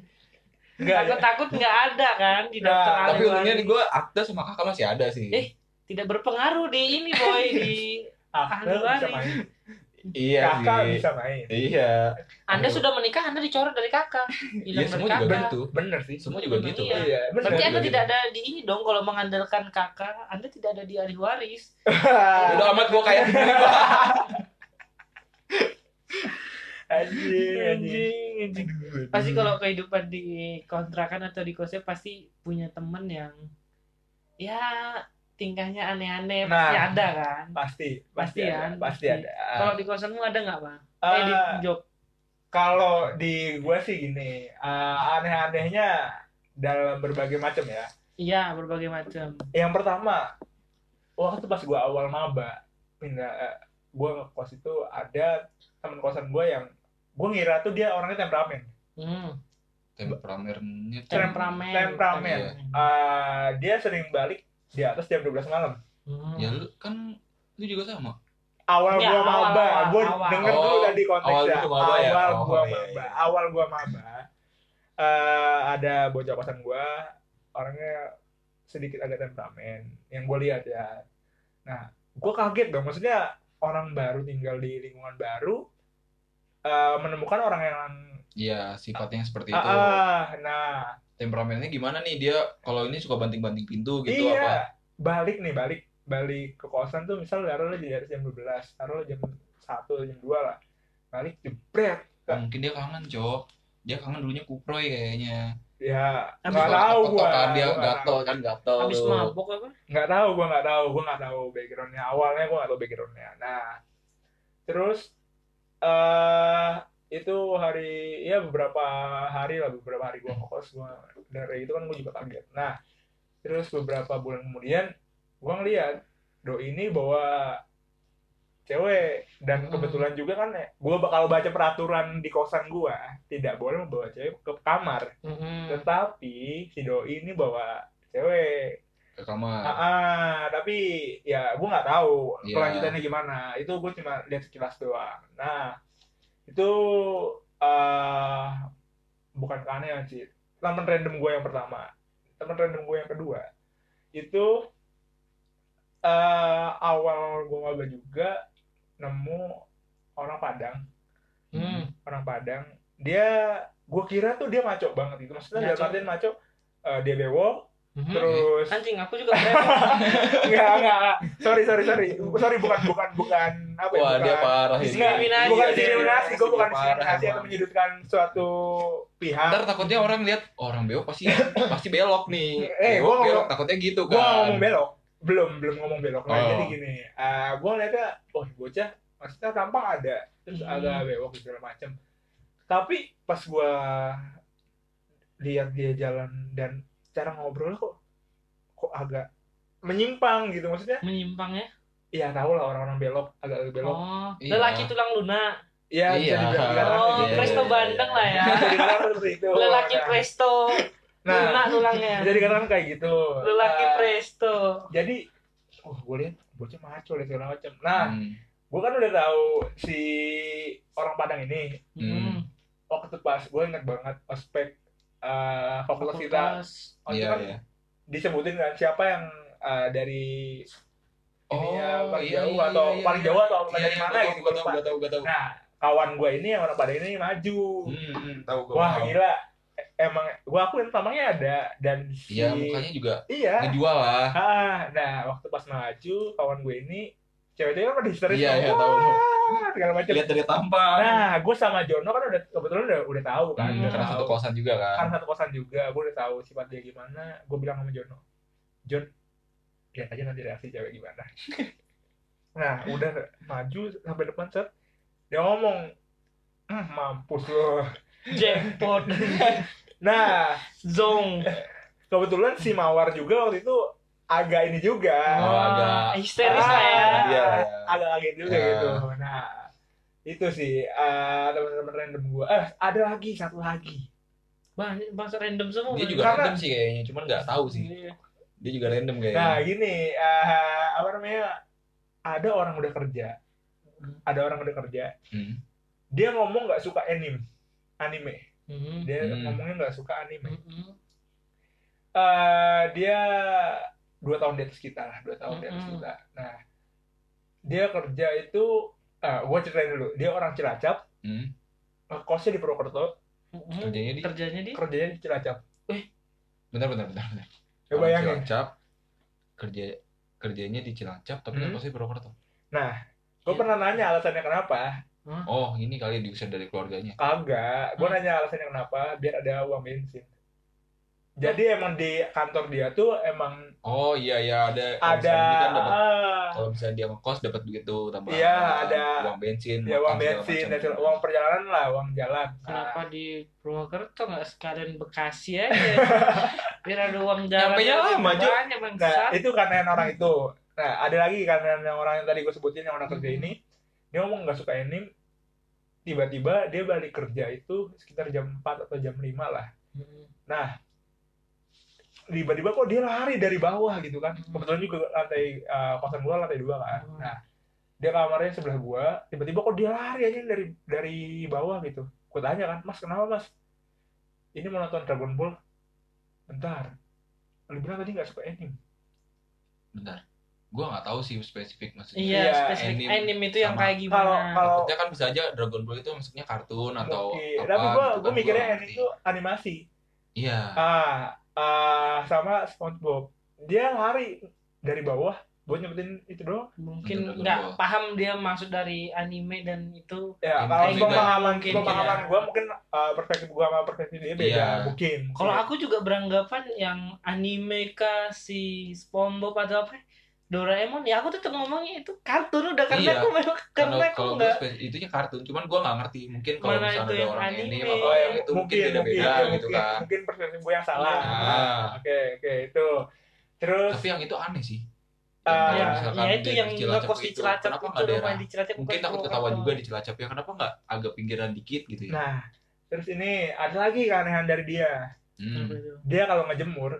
S3: Enggak.
S2: takut takut nggak ada kan di
S3: Nah,
S2: daftar ahli
S1: Tapi untungnya
S2: waris
S1: di gue akta sama kakak masih ada sih.
S2: Eh. tidak berpengaruh di ini boy di
S3: Akte
S2: Ahli
S3: bisa
S2: waris.
S3: main.
S1: iya
S3: Kakak
S1: sih.
S3: bisa main.
S1: Iya.
S2: anda
S1: Aduh.
S2: sudah menikah anda dicoret dari kakak
S1: Iya
S2: hilang dari
S1: semua juga
S2: kakak
S1: gitu.
S3: Bener sih.
S1: Semua juga
S2: Iya.
S1: gitu.
S2: Iya.
S3: bener.
S2: Berarti
S1: Iya,
S2: Anda
S1: iya.
S2: tidak ada di ini dong kalau mengandalkan kakak, Anda tidak ada di ahli waris.
S1: Udah amat gue kayak
S3: Anjing, Iya, anjing.
S2: anjing. Pasti kalau kehidupan di kontrakan atau di kosnya pasti punya temen yang ya tingkahnya aneh-aneh pasti
S3: Nah.
S2: ada kan.
S3: Pasti,
S2: Pasti
S3: pasti ada,
S2: kan? Pasti.
S3: pasti ada.
S2: Kalau di kosanmu ada nggak, Bang?
S1: Ah.
S2: eh, di
S3: Eh,
S2: jog.
S3: Kalau di gue sih gini, eh, aneh-anehnya dalam berbagai macam ya.
S2: Iya, berbagai macam.
S3: Yang pertama, waktu pas gue awal maba, pindah, gue ngekos itu ada teman kosan gue yang gue ngira tuh dia orangnya temperamen.
S2: Hmm.
S1: temperamennya tuh
S2: Temperamen.
S3: Temperamen. Eh, dia sering balik di atas jam 12 malam.
S2: Hmm.
S1: ya lu kan lu juga sama
S3: Awal
S2: Ya,
S3: gua
S2: awal,
S3: maba,
S2: awal,
S3: gua
S2: awal.
S3: denger dulu
S1: Oh,
S3: tadi konteksnya.
S1: awal lu maba ya?
S3: Awal
S1: Oh,
S3: gua
S1: iya, iya.
S3: maba, awal gua maba. Eh, ada bocah kosan gua, orangnya sedikit agak temperamen yang gua lihat ya. Nah, gua kaget dong, maksudnya orang baru tinggal di lingkungan baru eh, menemukan orang yang
S1: iya sifatnya seperti
S3: Ah,
S1: itu
S3: ah, nah
S1: temperamennya gimana nih dia kalau ini suka banting-banting pintu gitu
S3: iya,
S1: apa
S3: balik nih, balik balik ke kosan tuh misal taruh jadi harus jam 12, taruh jam 1, jam 2 lah. Balik jebret.
S1: mungkin dia kangen cok dia kangen dulunya kuproy kayaknya
S3: Ya,
S2: Habis
S3: nggak
S1: Suka
S3: tahu gua.
S1: ketok-ketokan dia
S3: gua nggak
S1: gatel kan gatel
S2: Habis
S1: lu.
S2: mabok apa?
S3: nggak tahu gue nggak tahu gue nggak tahu backgroundnya awalnya gue nggak tahu backgroundnya nah terus eh itu hari ya beberapa hari lah beberapa hari gue ngekos gue dari itu kan gue juga kaget nah terus beberapa bulan kemudian gue ngeliat do ini bawa cewek dan
S1: Hmm.
S3: kebetulan juga kan gue bakal baca peraturan di kosan gue tidak boleh membawa cewek ke kamar
S2: Hmm.
S3: tetapi si do ini bawa cewek
S1: ke kamar
S3: Ah, ah, tapi ya gue nggak tahu
S1: Iya.
S3: kelanjutannya gimana. Itu gue cuma lihat sekilas doang. Nah, itu eh bukan keanehan sih. Teman random gue yang pertama, teman random gue yang kedua, itu eh awal gue maba juga nemu orang Padang,
S2: Hmm.
S3: orang Padang. Dia, gue kira tuh dia maco banget itu. Maksudnya dalam
S2: Maco.
S3: artian maco, eh, dia bewok,
S2: Hmm.
S3: terus
S2: Anjing, aku juga berani.
S3: Enggak, enggak, enggak. Sorry, sorry, sorry. Sorry, bukan, bukan, bukan. Apa ya,
S1: wah
S3: bukan.
S1: dia parah ini
S3: Enggak,
S2: Diskriminasi.
S3: bukan
S2: Dia
S3: diskriminasi. Gue bukan
S1: Parah,
S3: diskriminasi atau
S1: emang.
S3: menyudutkan suatu pihak.
S1: Ntar takutnya orang lihat "Oh, orang bewok pasti pasti belok nih.
S3: Eh,
S1: bewok,
S3: gua-
S1: belok takutnya gitu
S3: Gue
S1: kan.
S3: ngomong belok. Belum, belum ngomong belok. Nah,
S1: Oh.
S3: jadi gini. eh gue ngeliatnya, oh bocah, maksudnya tampang ada. Terus
S2: Hmm.
S3: agak bewok segala macem. Tapi pas gue lihat dia jalan dan cara ngobrol kok kok agak menyimpang gitu maksudnya
S2: Menyimpang ya.
S3: ya tau lah orang-orang belok agak belok
S2: Oh,
S1: Iya.
S2: lelaki tulang lunak.
S3: ya
S1: Iya.
S3: bisa dibilang dikatakan
S2: Oh,
S3: gitu.
S2: Presto Bandeng lah ya.
S3: Bisa dikatakan seperti itu.
S2: Lelaki
S1: Oh, iya.
S3: Nah,
S2: Presto,
S3: Nah,
S2: lunak tulangnya.
S3: jadi kadang kayak gitu.
S2: Lelaki
S3: Nah,
S2: Presto.
S3: Jadi, oh gue lihat bocah maco lihat segala macam. Nah,
S1: Hmm.
S3: gue kan udah tahu si orang Padang ini.
S2: Hmm.
S3: Waktu pas gue inget banget ospek eh fakultas kita.
S2: Fakultas.
S3: Oh, itu
S1: Iya,
S3: kan
S1: iya.
S3: disebutin kan siapa yang eh, dari ini ya,
S1: Oh,
S3: paling
S1: iya,
S3: jauh
S1: iya,
S3: atau
S1: iya,
S3: paling
S1: iya.
S3: jauh atau
S1: Iya,
S3: dari
S1: iya,
S3: mana
S1: gua tahu, gua
S3: gitu. gua
S1: tahu,
S3: lupa.
S1: gua tahu, gua tahu.
S3: Nah, kawan gue ini yang orang Padang ini maju.
S1: Hmm, hmm, tahu gua.
S3: Wah
S1: tahu.
S3: gila E- emang gua akuin tampangnya ada dan si
S1: Iya, mukanya juga
S3: iya
S1: ngejual lah.
S3: ah nah waktu pas maju kawan gue ini cewek-cewek kan pada histeris
S1: Iya, iya,
S3: Wah,
S1: tahu, tahu.
S3: segala macam
S1: Lihat dari tampan.
S3: nah gue sama Jono kan udah kebetulan udah udah tahu kan
S1: Hmm,
S3: udah
S1: karena
S3: tahu.
S1: satu kosan juga kan.
S3: Karena satu kosan juga gue udah tahu sifat dia gimana gue bilang sama Jono Jon lihat aja nanti reaksi cewek gimana nah udah maju sampai depan set dia ngomong "Hmm, mampus loh
S2: Jackpot.
S3: nah
S2: Zong.
S3: kebetulan si Mawar juga waktu itu agak ini juga
S1: Oh,
S2: Wah,
S1: agak-
S2: histeris lah ya.
S1: Ah, iya, iya.
S3: agak kaget juga
S1: Ya.
S3: gitu nah itu sih eh, teman-teman random gua eh ada lagi satu lagi
S2: Bang- Bangsa random semua.
S1: Dia juga
S3: Karena-
S1: random sih kayaknya, cuman nggak tahu sih.
S2: Iya.
S1: Dia juga random
S3: nah
S1: kayaknya.
S3: gini eh, apa namanya ada orang udah kerja ada orang udah kerja
S1: Hmm.
S3: dia ngomong nggak suka anime anime
S2: Hmm.
S3: dia
S1: Hmm.
S3: ngomongnya nggak suka anime
S2: Hmm.
S3: Eh, dia dua tahun di atas kita lah dua tahun di atas
S1: Hmm.
S2: Mm-mm.
S3: kita nah dia kerja itu eh gue ceritain dulu dia orang Cilacap
S1: Hmm.
S3: kosnya di Purwokerto
S2: Hmm.
S1: Kerjanya di
S2: Kerjanya di
S3: kerjanya di Cilacap
S1: bentar bentar bentar. bentar.
S3: ya
S1: Orang
S3: bayangin
S1: Cilacap kerja kerjanya di Cilacap tapi kan
S3: Hmm.
S1: pasti Purwokerto.
S3: gue pernah nanya alasannya kenapa
S1: Oh, ini kali diusir dari keluarganya.
S3: kagak gue
S2: Hmm.
S3: nanya alasannya kenapa biar ada uang bensin jadi emang di kantor dia tuh emang
S1: Oh iya iya ada kalau
S3: ada
S1: misalnya dia kan dapat
S3: ah,
S1: kalau misalnya dia ngekos dapat duit tuh tambahan
S3: Iya, ada-
S1: uang bensin
S3: ya
S1: makan,
S3: uang
S1: segala
S3: bensin
S1: macam.
S3: dan segala- uang perjalanan lah uang jalan Nah,
S2: Kenapa di Purwokerto nggak sekalian Bekasi aja? Biar ada uang jalan.
S1: Nyampenya lama, Ju.
S2: Banyak
S3: Nah,
S2: bangsat.
S3: itu karena yang orang itu. Nah, ada lagi karena yang orang yang tadi gue sebutin yang orang kerja
S2: Hmm.
S3: ini, dia ngomong nggak suka anime. Tiba-tiba dia balik kerja itu sekitar jam 4 atau jam 5 lah. tiba-tiba kok dia lari dari bawah gitu kan
S2: Hmm.
S3: kebetulan juga lantai eh, kosan gua lantai dua kan
S2: Hmm.
S3: nah dia kamarnya sebelah gua tiba-tiba kok dia lari aja dari dari bawah gitu gua tanya kan mas kenapa mas ini mau nonton Dragon Ball bentar lu bilang tadi nggak suka anime
S1: bentar gue nggak tahu sih spesifik maksudnya
S2: Iya,
S3: Iya,
S2: spesifik
S1: anime.
S2: anime, itu yang
S1: Sama.
S2: kayak gimana?
S3: kalau kalau
S1: Maksudnya kan bisa aja Dragon Ball itu maksudnya kartun atau
S3: Oke,
S1: apa
S3: tapi gua
S1: gitu
S3: gua
S1: kan,
S3: mikirnya
S1: nggak
S3: anime
S1: ngerti.
S3: itu animasi
S1: iya
S3: ah ah, sama SpongeBob dia lari dari bawah buat nyempetin itu doang
S2: mungkin
S1: Bener, bener,
S2: nggak
S1: bener.
S2: paham dia maksud dari anime dan itu
S1: Mungkin
S3: Ya, kalau
S1: beda.
S3: pemahaman
S2: Mungkin
S3: pemahaman
S2: beda.
S3: gue mungkin uh, perspektif gue sama perspektif dia beda
S1: Iya.
S3: mungkin.
S2: kalau aku juga beranggapan yang anime kah si SpongeBob atau apa Doraemon ya aku tetap ngomongnya itu kartun udah karena
S1: Iya.
S2: aku memang
S3: Kan
S2: karena
S1: kalau
S2: aku
S1: kalau gue
S2: nggak
S1: itunya kartun cuman gue nggak ngerti mungkin kalau
S2: Mana
S1: misalnya
S2: itu
S1: ada
S2: yang
S1: orang
S2: anime.
S1: anime apa
S3: Oh, ya,
S1: itu mungkin beda beda
S3: ya,
S1: gitu
S3: mungkin,
S1: kan
S3: Mungkin perspektif gue yang salah.
S2: Iya.
S1: Ah.
S3: Oke oke itu. Terus
S1: tapi yang itu aneh sih Yang
S3: Ah,
S2: ya,
S1: kalau misalkan
S2: ya itu
S1: dari
S2: yang
S1: Cilacap
S2: ngekos di
S1: itu,
S2: Cilacap
S1: kenapa
S2: itu
S1: nggak
S2: rumah
S1: daerah
S2: di Cilacap
S1: mungkin
S2: bukan
S1: takut
S2: Purwokerto.
S1: ketawa juga di Cilacap ya kenapa nggak agak pinggiran dikit gitu ya
S3: nah terus ini ada lagi keanehan dari dia.
S2: Apa
S1: hmm.
S2: itu?
S3: Dia kalau ngejemur,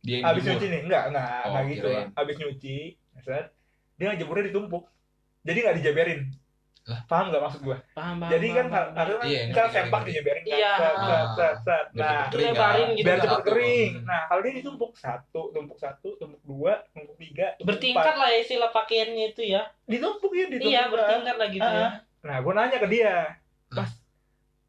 S1: dia yang
S3: habis
S1: dijemur.
S3: nyuci nih enggak enggak
S1: Oh,
S3: enggak gitu.
S1: kirain.
S3: Habis nyuci, set, dia ngejemurnya ditumpuk. Jadi nggak dijaberin.
S1: Lah.
S3: Paham nggak maksud gue?
S2: Paham, paham,
S3: Jadi kan
S2: paham, paham.
S3: kar- karena kan
S1: Iya, ngerti,
S3: misal
S1: ngerti,
S3: sempak
S1: ngerti.
S3: dijaberin kan.
S2: Iya.
S3: Set, set, set, set.
S1: Biar
S3: Nah,
S1: cepet kering,
S2: lebarin
S1: kan?
S2: gitu
S3: biar
S2: kan.
S3: cepet
S1: Satu.
S3: kering.
S1: Hmm.
S3: Nah, kalau dia ditumpuk satu, tumpuk satu, tumpuk dua, tumpuk tiga, tumpuk
S2: bertingkat lah ya istilah pakaiannya itu ya
S3: empat. Ditumpuk ya, ditumpuk.
S2: iya
S3: kan.
S2: bertingkat lah gitu ya
S3: Ah. Nah, gue nanya ke dia,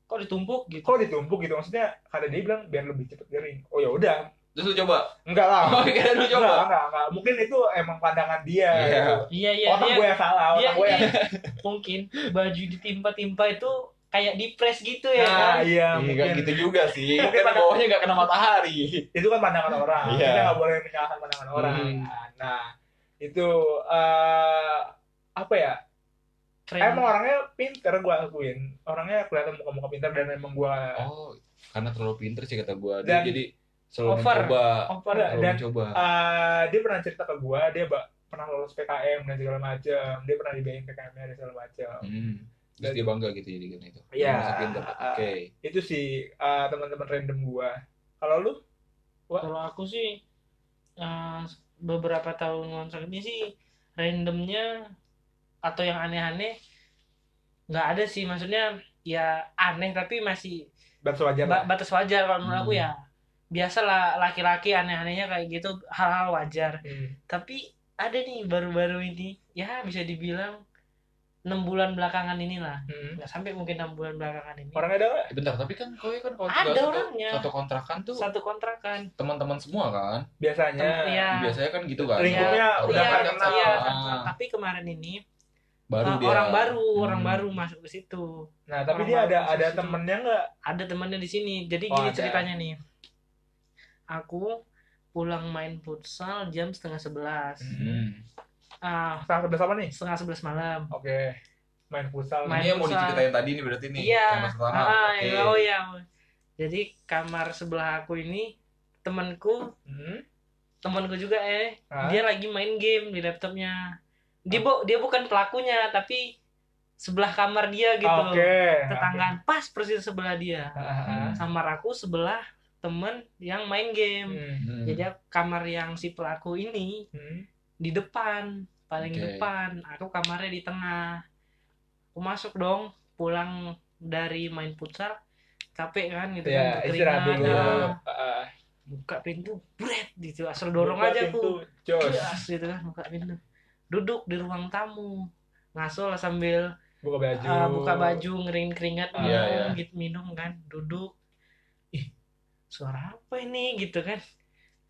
S2: kok ditumpuk gitu
S3: kok ditumpuk gitu? Maksudnya, karena dia bilang biar lebih cepet kering. Oh ya udah,
S1: terus lu coba
S3: enggak lah.
S1: oh kira lu
S3: enggak,
S1: coba
S3: enggak, enggak, Mungkin itu emang pandangan dia.
S1: Iya.
S3: gitu.
S2: iya iya
S3: otak
S2: dia-
S3: gue yang salah,
S2: Iya,
S3: otak gue yang.
S2: iya. mungkin baju ditimpa-timpa itu kayak dipres gitu ya
S3: Nah,
S2: kan?
S3: iya,
S1: Iya, nggak
S3: mungkin.
S1: gitu juga sih
S3: Mungkin
S1: karena
S3: pada-
S1: bawahnya nggak kena matahari
S3: itu kan pandangan orang
S1: Iya.
S3: kita nggak boleh menyalahkan pandangan orang
S1: Hmm.
S3: nah itu eh, apa ya
S2: Keren.
S3: emang orangnya pinter gue akuin orangnya kelihatan muka-muka pinter dan emang gue
S1: oh karena terlalu pinter sih kata gue
S3: Dan-
S1: jadi selalu
S2: Over.
S1: mencoba
S2: Over.
S3: Enggak,
S1: selalu
S3: dan-
S1: mencoba
S3: eh, dia pernah cerita ke gue dia ba- pernah lolos PKM dan segala macam dia pernah dibiayain PKM nya dan segala macam
S1: hmm. terus
S3: dan-
S1: dia bangga gitu jadi gitu itu
S3: Iya.
S1: Merasa pinter oke
S3: itu sih eh, teman-teman random gue kalau lu
S2: kalau aku sih eh, beberapa tahun loncat ini sih randomnya atau yang aneh-aneh nggak ada sih maksudnya ya aneh tapi masih
S3: bakso wajar
S2: ba-
S3: lah
S2: batas wajar kalau menurut aku
S1: Hmm.
S2: ya biasalah laki-laki aneh-anehnya kayak gitu hal-hal wajar
S3: Hmm.
S2: tapi ada nih baru-baru ini ya bisa dibilang enam bulan belakangan inilah
S3: Hmm.
S2: nggak sampai mungkin enam bulan belakangan ini
S3: orangnya ada nggak?
S1: Eh, bentar tapi kan kau kan kalau
S2: Ada
S1: juga satu,
S2: orangnya.
S1: satu kontrakan tuh
S2: satu kontrakan
S1: teman-teman semua kan
S3: biasanya
S2: Tem- iya.
S1: biasanya kan gitu kan
S3: Lingkupnya
S1: Kalau
S3: udah
S1: kontrakan
S2: iya,
S1: kan
S3: kenal.
S2: iya,
S1: sama.
S2: satu- tapi kemarin ini
S1: baru
S2: uh,
S1: dia
S2: orang baru orang
S1: Hmm.
S2: baru masuk ke situ
S3: nah tapi
S2: Orang
S3: dia ada
S2: baru
S3: ada
S2: posisi.
S3: temennya nggak
S2: ada temannya di sini jadi
S3: Oh,
S2: gini
S3: ada.
S2: ceritanya nih aku pulang main futsal jam setengah sebelas
S1: hmm.
S2: ah
S3: sangat bersama nih
S2: setengah sebelas malam
S3: oke main futsal
S2: Main
S1: ini yang mau
S2: futsal.
S1: diceritain tadi nih berarti nih
S2: Iya.
S1: yang pertama
S2: Ah,
S1: Oke.
S2: oh ya jadi kamar sebelah aku ini temanku
S3: Hmm?
S2: temanku juga eh
S3: Hah?
S2: dia lagi main game di laptopnya dia bu- dia bukan pelakunya tapi sebelah kamar dia gitu
S3: Ah, Oke. Ah,
S2: tetanggaan pas persis sebelah dia
S3: Heeh.
S2: kamar aku sebelah temen yang main game
S1: Hmm.
S2: jadi aku- kamar yang si pelaku ini
S3: Hmm.
S2: di depan paling
S1: Oke.
S2: depan Nah, aku kamarnya di tengah aku masuk dong pulang dari main futsal capek kan gitu
S3: Ya,
S2: kan
S3: istirahat dulu.
S2: ah.
S3: Heeh.
S2: buka pintu bret gitu asal dorong
S3: Ah, Buka
S2: aja
S3: pintu,
S2: aku
S3: Jos.
S2: Gas, gitu kan buka pintu duduk di ruang tamu ngaso lah sambil
S3: Buka baju.
S2: ah, buka baju ngeringin keringat
S3: Ah,
S2: minum
S1: iya.
S2: gitu minum kan duduk ih suara apa ini gitu kan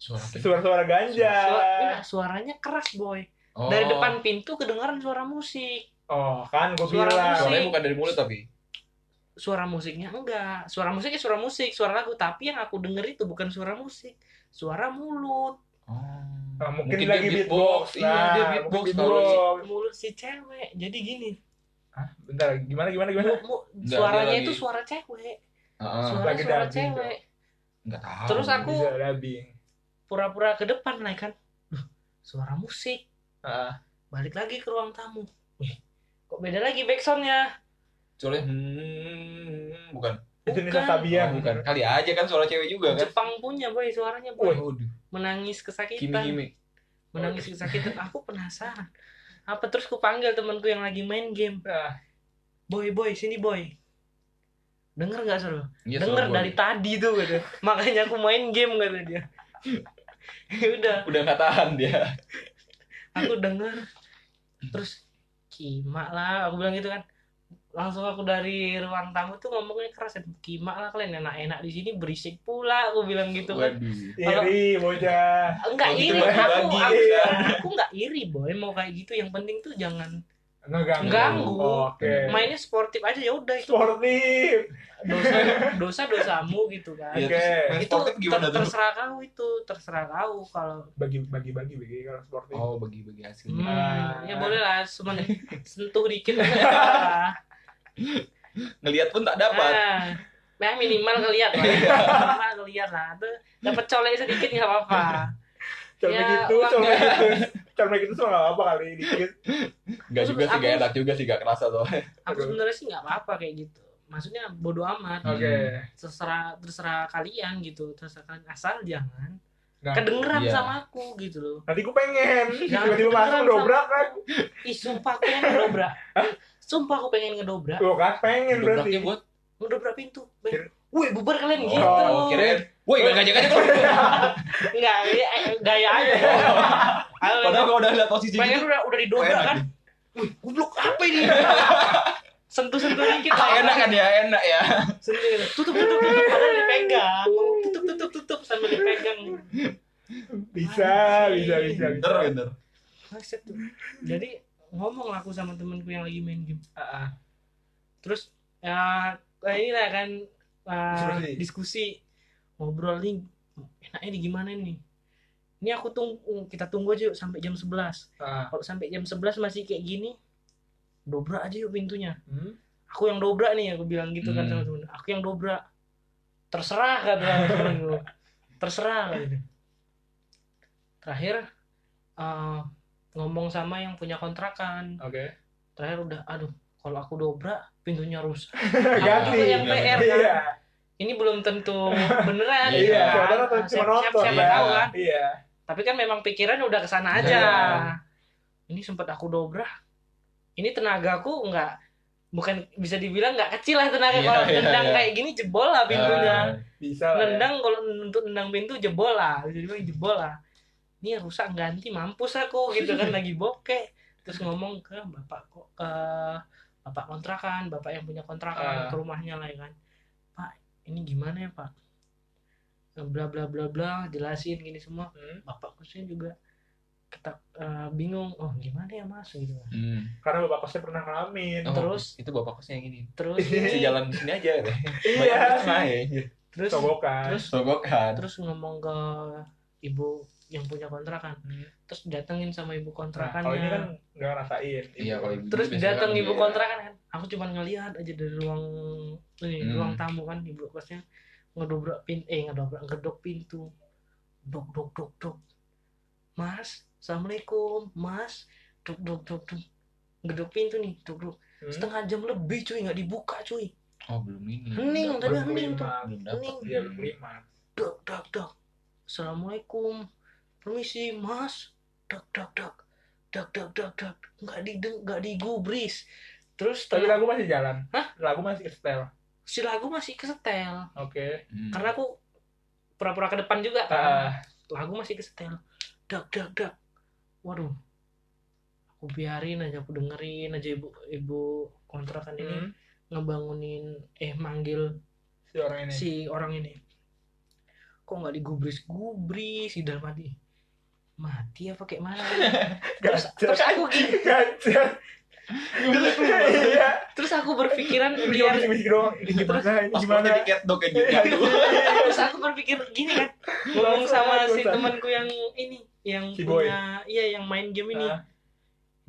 S1: Suara apa?
S3: Suara-suara ganja.
S2: Suara- enggak, suaranya keras boy
S1: Eh. Oh.
S2: dari depan pintu kedengaran suara musik
S3: Oh, kan gue
S2: Suara
S3: bilang.
S2: musik.
S1: Suaranya bukan dari mulut tapi.
S2: suara musiknya enggak suara musiknya suara musik suara lagu tapi yang aku denger itu bukan suara musik suara mulut
S3: Nah, mungkin, lagi beatbox.
S1: Iya,
S3: Nah,
S1: dia beatbox.
S3: mungkin
S1: Kalau si-
S3: beatbox.
S2: mulut si cewek jadi gini
S3: Hah, bentar, gimana gimana gimana?
S2: mu- mu-
S1: Enggak,
S2: suaranya
S1: dia lagi- Ah.
S2: itu suara cewek
S1: Heeh.
S2: suara
S3: lagi
S2: suara
S3: dubbing
S2: cewek
S1: Nggak tahu.
S2: Terus aku-
S3: Bisa labing.
S2: pura-pura ke depan naik kan Duh, suara musik
S1: Ah.
S3: Heeh.
S2: balik lagi ke ruang tamu Wih, kok beda lagi backsoundnya
S1: Soalnya hmm, bukan.
S3: Itu
S2: Bukan.
S1: Oh,
S3: Sabian.
S1: bukan. Kali aja kan suara cewek juga kan.
S2: Jepang punya boy suaranya boy
S1: Waduh. Kimi
S2: menangis kesakitan
S1: Kimi.
S2: menangis kesakitan aku penasaran apa terus ku panggil temanku yang lagi main game
S1: Ah.
S3: Nah,
S2: boy boy sini boy denger nggak seru
S1: Iya,
S2: denger
S1: suara
S2: dari tadi tuh gitu makanya aku main game kata dia ya udah
S1: gua. udah nggak tahan dia.
S2: aku denger terus kima lah aku bilang gitu kan langsung aku dari ruang tamu tuh ngomongnya keras ya kima lah kalian enak-enak di sini berisik pula aku bilang gitu kan
S1: Waduh.
S3: iri bocah.
S2: enggak
S1: Kalau gitu
S2: iri aku
S1: bagi-bagi, ya.
S2: aku,
S3: iya.
S2: aku enggak iri boy mau kayak gitu yang penting tuh jangan
S3: Ngeganggu.
S2: Ganggu.
S3: Oke.
S2: mainnya sportif aja ya udah itu
S3: Sportif.
S2: dosa dosa dosamu gitu kan
S1: Iya,
S3: Oke.
S1: terus main
S2: itu
S1: sportif gimana
S2: ter-
S1: tuh?
S2: terserah kau itu terserah kau kalau
S3: Bagi bagi bagi bagi kalau sportif.
S1: Oh, bagi-bagi hasilnya.
S2: hmm,
S3: Ah.
S1: Iya.
S2: ya boleh lah cuman sentuh dikit aja.
S1: Ngelihat pun tak dapat.
S2: Ah, nah minimal ngeliat lah. minimal ngeliat lah. Tuh, Dapat colek sedikit nggak apa-apa.
S3: Colmek
S2: Ya,
S3: itu,
S2: uang-
S3: colmek itu. Colmek itu semua nggak apa kali dikit.
S1: Enggak juga sih,
S2: Aku-
S1: nggak enak juga sih, nggak kerasa
S3: Iya,
S1: soalnya.
S2: Aku sebenarnya sih nggak apa-apa kayak gitu. Maksudnya bodoh amat.
S1: Hmm.
S3: Oke.
S2: Terserah terserah kalian gitu. Terserah kalian asal jangan
S3: Nah,
S2: kedengeran
S1: Iya.
S2: sama aku gitu loh.
S3: nanti gue pengen.
S2: Jangan
S3: Tiba-tiba
S2: kedengeran
S3: masuk dobrak
S2: sama
S3: kan.
S2: aku. Ih, sumpah aku pengen ngedobrak. sumpah aku pengen ngedobrak.
S3: Tuh kan pengen berarti.
S1: Dobraknya buat
S2: Ngedobrak pintu.
S3: Kira-
S2: Woi, bubar kalian
S1: Oh,
S2: gitu.
S1: kirain. Woi, gak ngajak aja kalau.
S2: Enggak, ya, eh, gaya aja. Ayo,
S1: Padahal kalau udah lihat posisi
S2: pengen
S1: gitu,
S2: udah udah
S1: oh,
S2: didobrak
S1: enak.
S2: kan. Wih, goblok apa ini? Sentuh-sentuh dikit
S1: Ah,
S2: lah.
S1: enak kan ya, enak ya.
S2: Sentuh gitu. Tutup, tutup, tutup. Padahal dipegang. Tutup, tutup, tutup. Sambil dipegang.
S3: Bisa, bisa, bisa, bisa.
S1: Bener, bener.
S2: Maset tuh. Jadi ngomong lah aku sama temenku yang lagi main game.
S3: Ah, ah.
S2: Terus ya eh, ini lah kan eh,
S3: Diskusi.
S2: diskusi ngobrol nih enaknya di gimana nih. Ini aku tunggu kita tunggu aja yuk sampai jam 11.
S3: Ah.
S2: Kalau sampai jam 11 masih kayak gini dobrak aja yuk pintunya.
S3: Hmm?
S2: aku yang dobrak nih aku bilang gitu kan
S1: Hmm.
S2: sama temen aku yang dobrak terserah kata temen lu terserah gitu terakhir eh, ngomong sama yang punya kontrakan
S3: Oke.
S2: terakhir udah aduh kalau aku dobrak pintunya rusak Aku
S3: Ganti.
S2: yang PR kan
S3: Iya.
S2: ini belum tentu
S1: Iya,
S2: beneran gitu kan.
S3: saudara tuh cuma
S2: Siapa- siapa-
S3: nonton,
S2: siapa
S1: ya.
S2: tahu kan
S3: Iya.
S2: tapi kan memang pikiran udah kesana aja
S3: Iya.
S2: ini sempat aku dobrak ini tenagaku nggak bukan bisa dibilang nggak kecil lah
S1: Iya,
S2: tenaga kalau
S1: iya,
S2: nendang
S1: iya. Ah.
S2: kayak gini jebol lah pintunya
S3: Bisa lah. ya.
S2: nendang kalau untuk nendang pintu jebol lah jadi bilang jebol lah ini rusak ganti mampus aku gitu kan lagi bokeh terus ngomong ke bapak kok ke bapak kontrakan bapak yang punya kontrakan
S3: Ah.
S2: ke rumahnya lah ya kan pak ini gimana ya pak bla bla bla bla jelasin gini semua
S3: Hmm.
S2: bapakku sih juga kita eh, bingung oh gimana ya mas gitu kan.
S1: Hmm.
S3: Karena bapak kosnya pernah ngalamin.
S1: Oh,
S2: Terus- Iya.
S1: itu bapak kosnya yang ini.
S2: terus
S1: Si
S2: ini,
S1: jalan di sini aja. ya.
S3: Iya.
S1: Main. kan.
S2: terus
S3: Sobokan.
S2: terus
S1: Sogokan.
S2: terus ngomong ke ibu yang punya kontrakan
S3: Hmm.
S2: terus datengin sama ibu
S3: Nah, kalau ini kan
S2: kontrakannya
S3: nggak ngerasain.
S1: Iya, kalau ibu
S2: terus
S1: biasanya
S2: dateng
S1: kan
S2: ibu
S1: dia-
S2: kontrakan kan aku cuman ngelihat aja dari ruang ini
S1: Hmm.
S2: ruang tamu kan ibu kosnya ngedobrak pin eh ngedobrak ngedok pintu dok dok dok dok mas assalamualaikum mas dok dok dok dok ngedok pintu nih dok dok
S3: Hmm.
S2: setengah jam lebih cuy nggak dibuka cuy
S1: Oh, belum ini.
S2: hening tadi
S3: Belum
S2: hening tuh
S3: kelima.
S1: Belum dapat.
S2: Hening.
S3: Iya, belum kelima.
S2: Hmm. dak dak dak assalamualaikum permisi mas dak dak dak dak dak dak dak nggak di nggak digubris terus
S3: Tapi
S2: setelah-
S3: lagu masih jalan.
S2: Hah?
S3: Lagu masih setel.
S2: si lagu masih kesetel
S3: Oke.
S1: Hmm.
S2: karena aku pura-pura ke depan juga kan
S3: Ah,
S2: lagu masih kesetel dak dak dak waduh aku biarin aja aku dengerin aja ibu ibu kontrakan ini
S3: hmm.
S2: ngebangunin eh manggil
S3: Si orang ini.
S2: si orang ini kok nggak digubris gubris si dalam hati mati apa kayak mana terus,
S3: Gacor.
S2: terus aku gini
S3: Gacor. Iya.
S2: terus aku berpikiran
S3: Ini cuma
S2: biar
S3: bisik-bisik doang. Ini gimana? Ini
S1: Paspornya
S3: gimana?
S1: di cat dog kayak gitu.
S2: terus aku berpikir gini kan ngomong sama si
S3: Bangsat.
S2: temanku yang ini yang
S3: Si boy.
S2: punya iya yang main game ini
S3: Ah.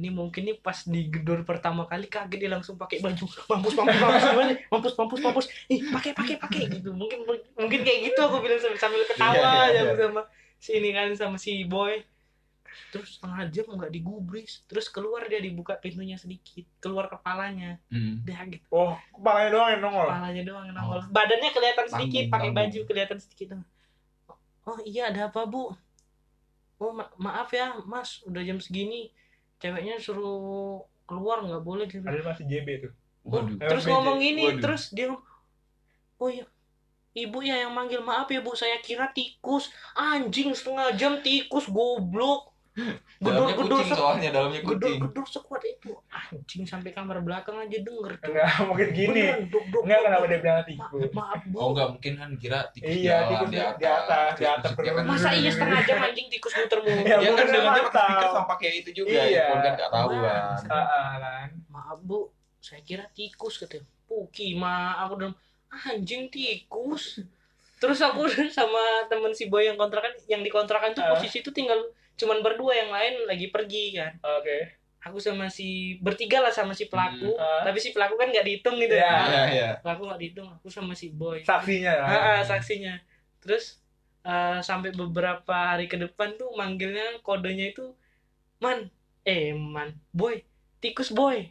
S2: ini mungkin nih pas digedor pertama kali kaget dia langsung pakai baju mampus mampus mampus mampus mampus mampus mampus ih pakai pakai pakai gitu mungkin
S3: Iya,
S2: mungkin kayak gitu aku bilang sambil, sambil ketawa
S1: Iya, iya,
S2: aja
S1: iya.
S2: sama si ini kan sama si boy terus setengah jam nggak digubris terus keluar dia dibuka pintunya sedikit keluar kepalanya
S1: Hmm.
S2: udah gitu
S3: Oh, kepalanya doang yang nongol.
S2: kepalanya doang yang nongol Oh. badannya kelihatan sedikit
S1: Tanggung,
S2: pakai
S1: tanggung.
S2: baju kelihatan sedikit doang. oh iya ada apa bu oh ma- maaf ya mas udah jam segini ceweknya suruh keluar nggak boleh dia bilang.
S3: Ada masih JB tuh.
S1: Waduh. Eh,
S2: terus
S3: LPG.
S2: ngomong gini
S1: Waduh.
S2: terus dia oh iya ibu ya yang manggil maaf ya bu saya kira tikus anjing setengah jam tikus goblok
S1: Dalamnya kucing
S2: gedor-gedor se-
S1: soalnya dalamnya kucing.
S2: gedor-gedor sekuat itu anjing sampai kamar belakang aja denger tuh
S3: Enggak Kan mungkin gini.
S2: Beneran, duk, duk,
S3: Enggak
S2: duk,
S3: kenapa
S2: duk.
S3: dia bilang
S2: Ma-
S3: tikus.
S2: maaf bu
S1: Oh enggak mungkin kan kira tikus
S3: Iya,
S1: jalan
S3: tikus
S1: di
S3: di-
S1: atas.
S3: di atas,
S1: Terus
S3: di atas.
S1: maksudnya kan-
S2: masa iya setengah jam anjing tikus muter-muter
S3: Ya,
S1: Dia kan
S3: mungkin
S1: dengannya
S3: dia
S1: pakai speaker
S3: tahu.
S1: sama pakai itu juga.
S3: Iya.
S1: Iya. kan nggak tahu kan.
S2: Wah.
S3: Ah, ah, kan.
S2: maaf bu saya kira tikus katanya puki ma aku dalam anjing tikus terus aku sama temen si boy yang kontrakan yang dikontrakan tuh
S3: Ah.
S2: posisi itu tinggal cuman berdua yang lain lagi pergi kan
S3: Oke.
S2: aku sama si bertiga lah sama si pelaku
S3: Ah.
S2: tapi si pelaku kan nggak dihitung gitu
S3: Iya.
S2: ya
S1: Iya, Hmm, iya.
S2: pelaku nggak dihitung aku sama si boy
S3: Saksinya lah.
S2: Ah, ah, saksinya terus eh, sampai beberapa hari ke depan tuh manggilnya kodenya itu man eh man boy tikus boy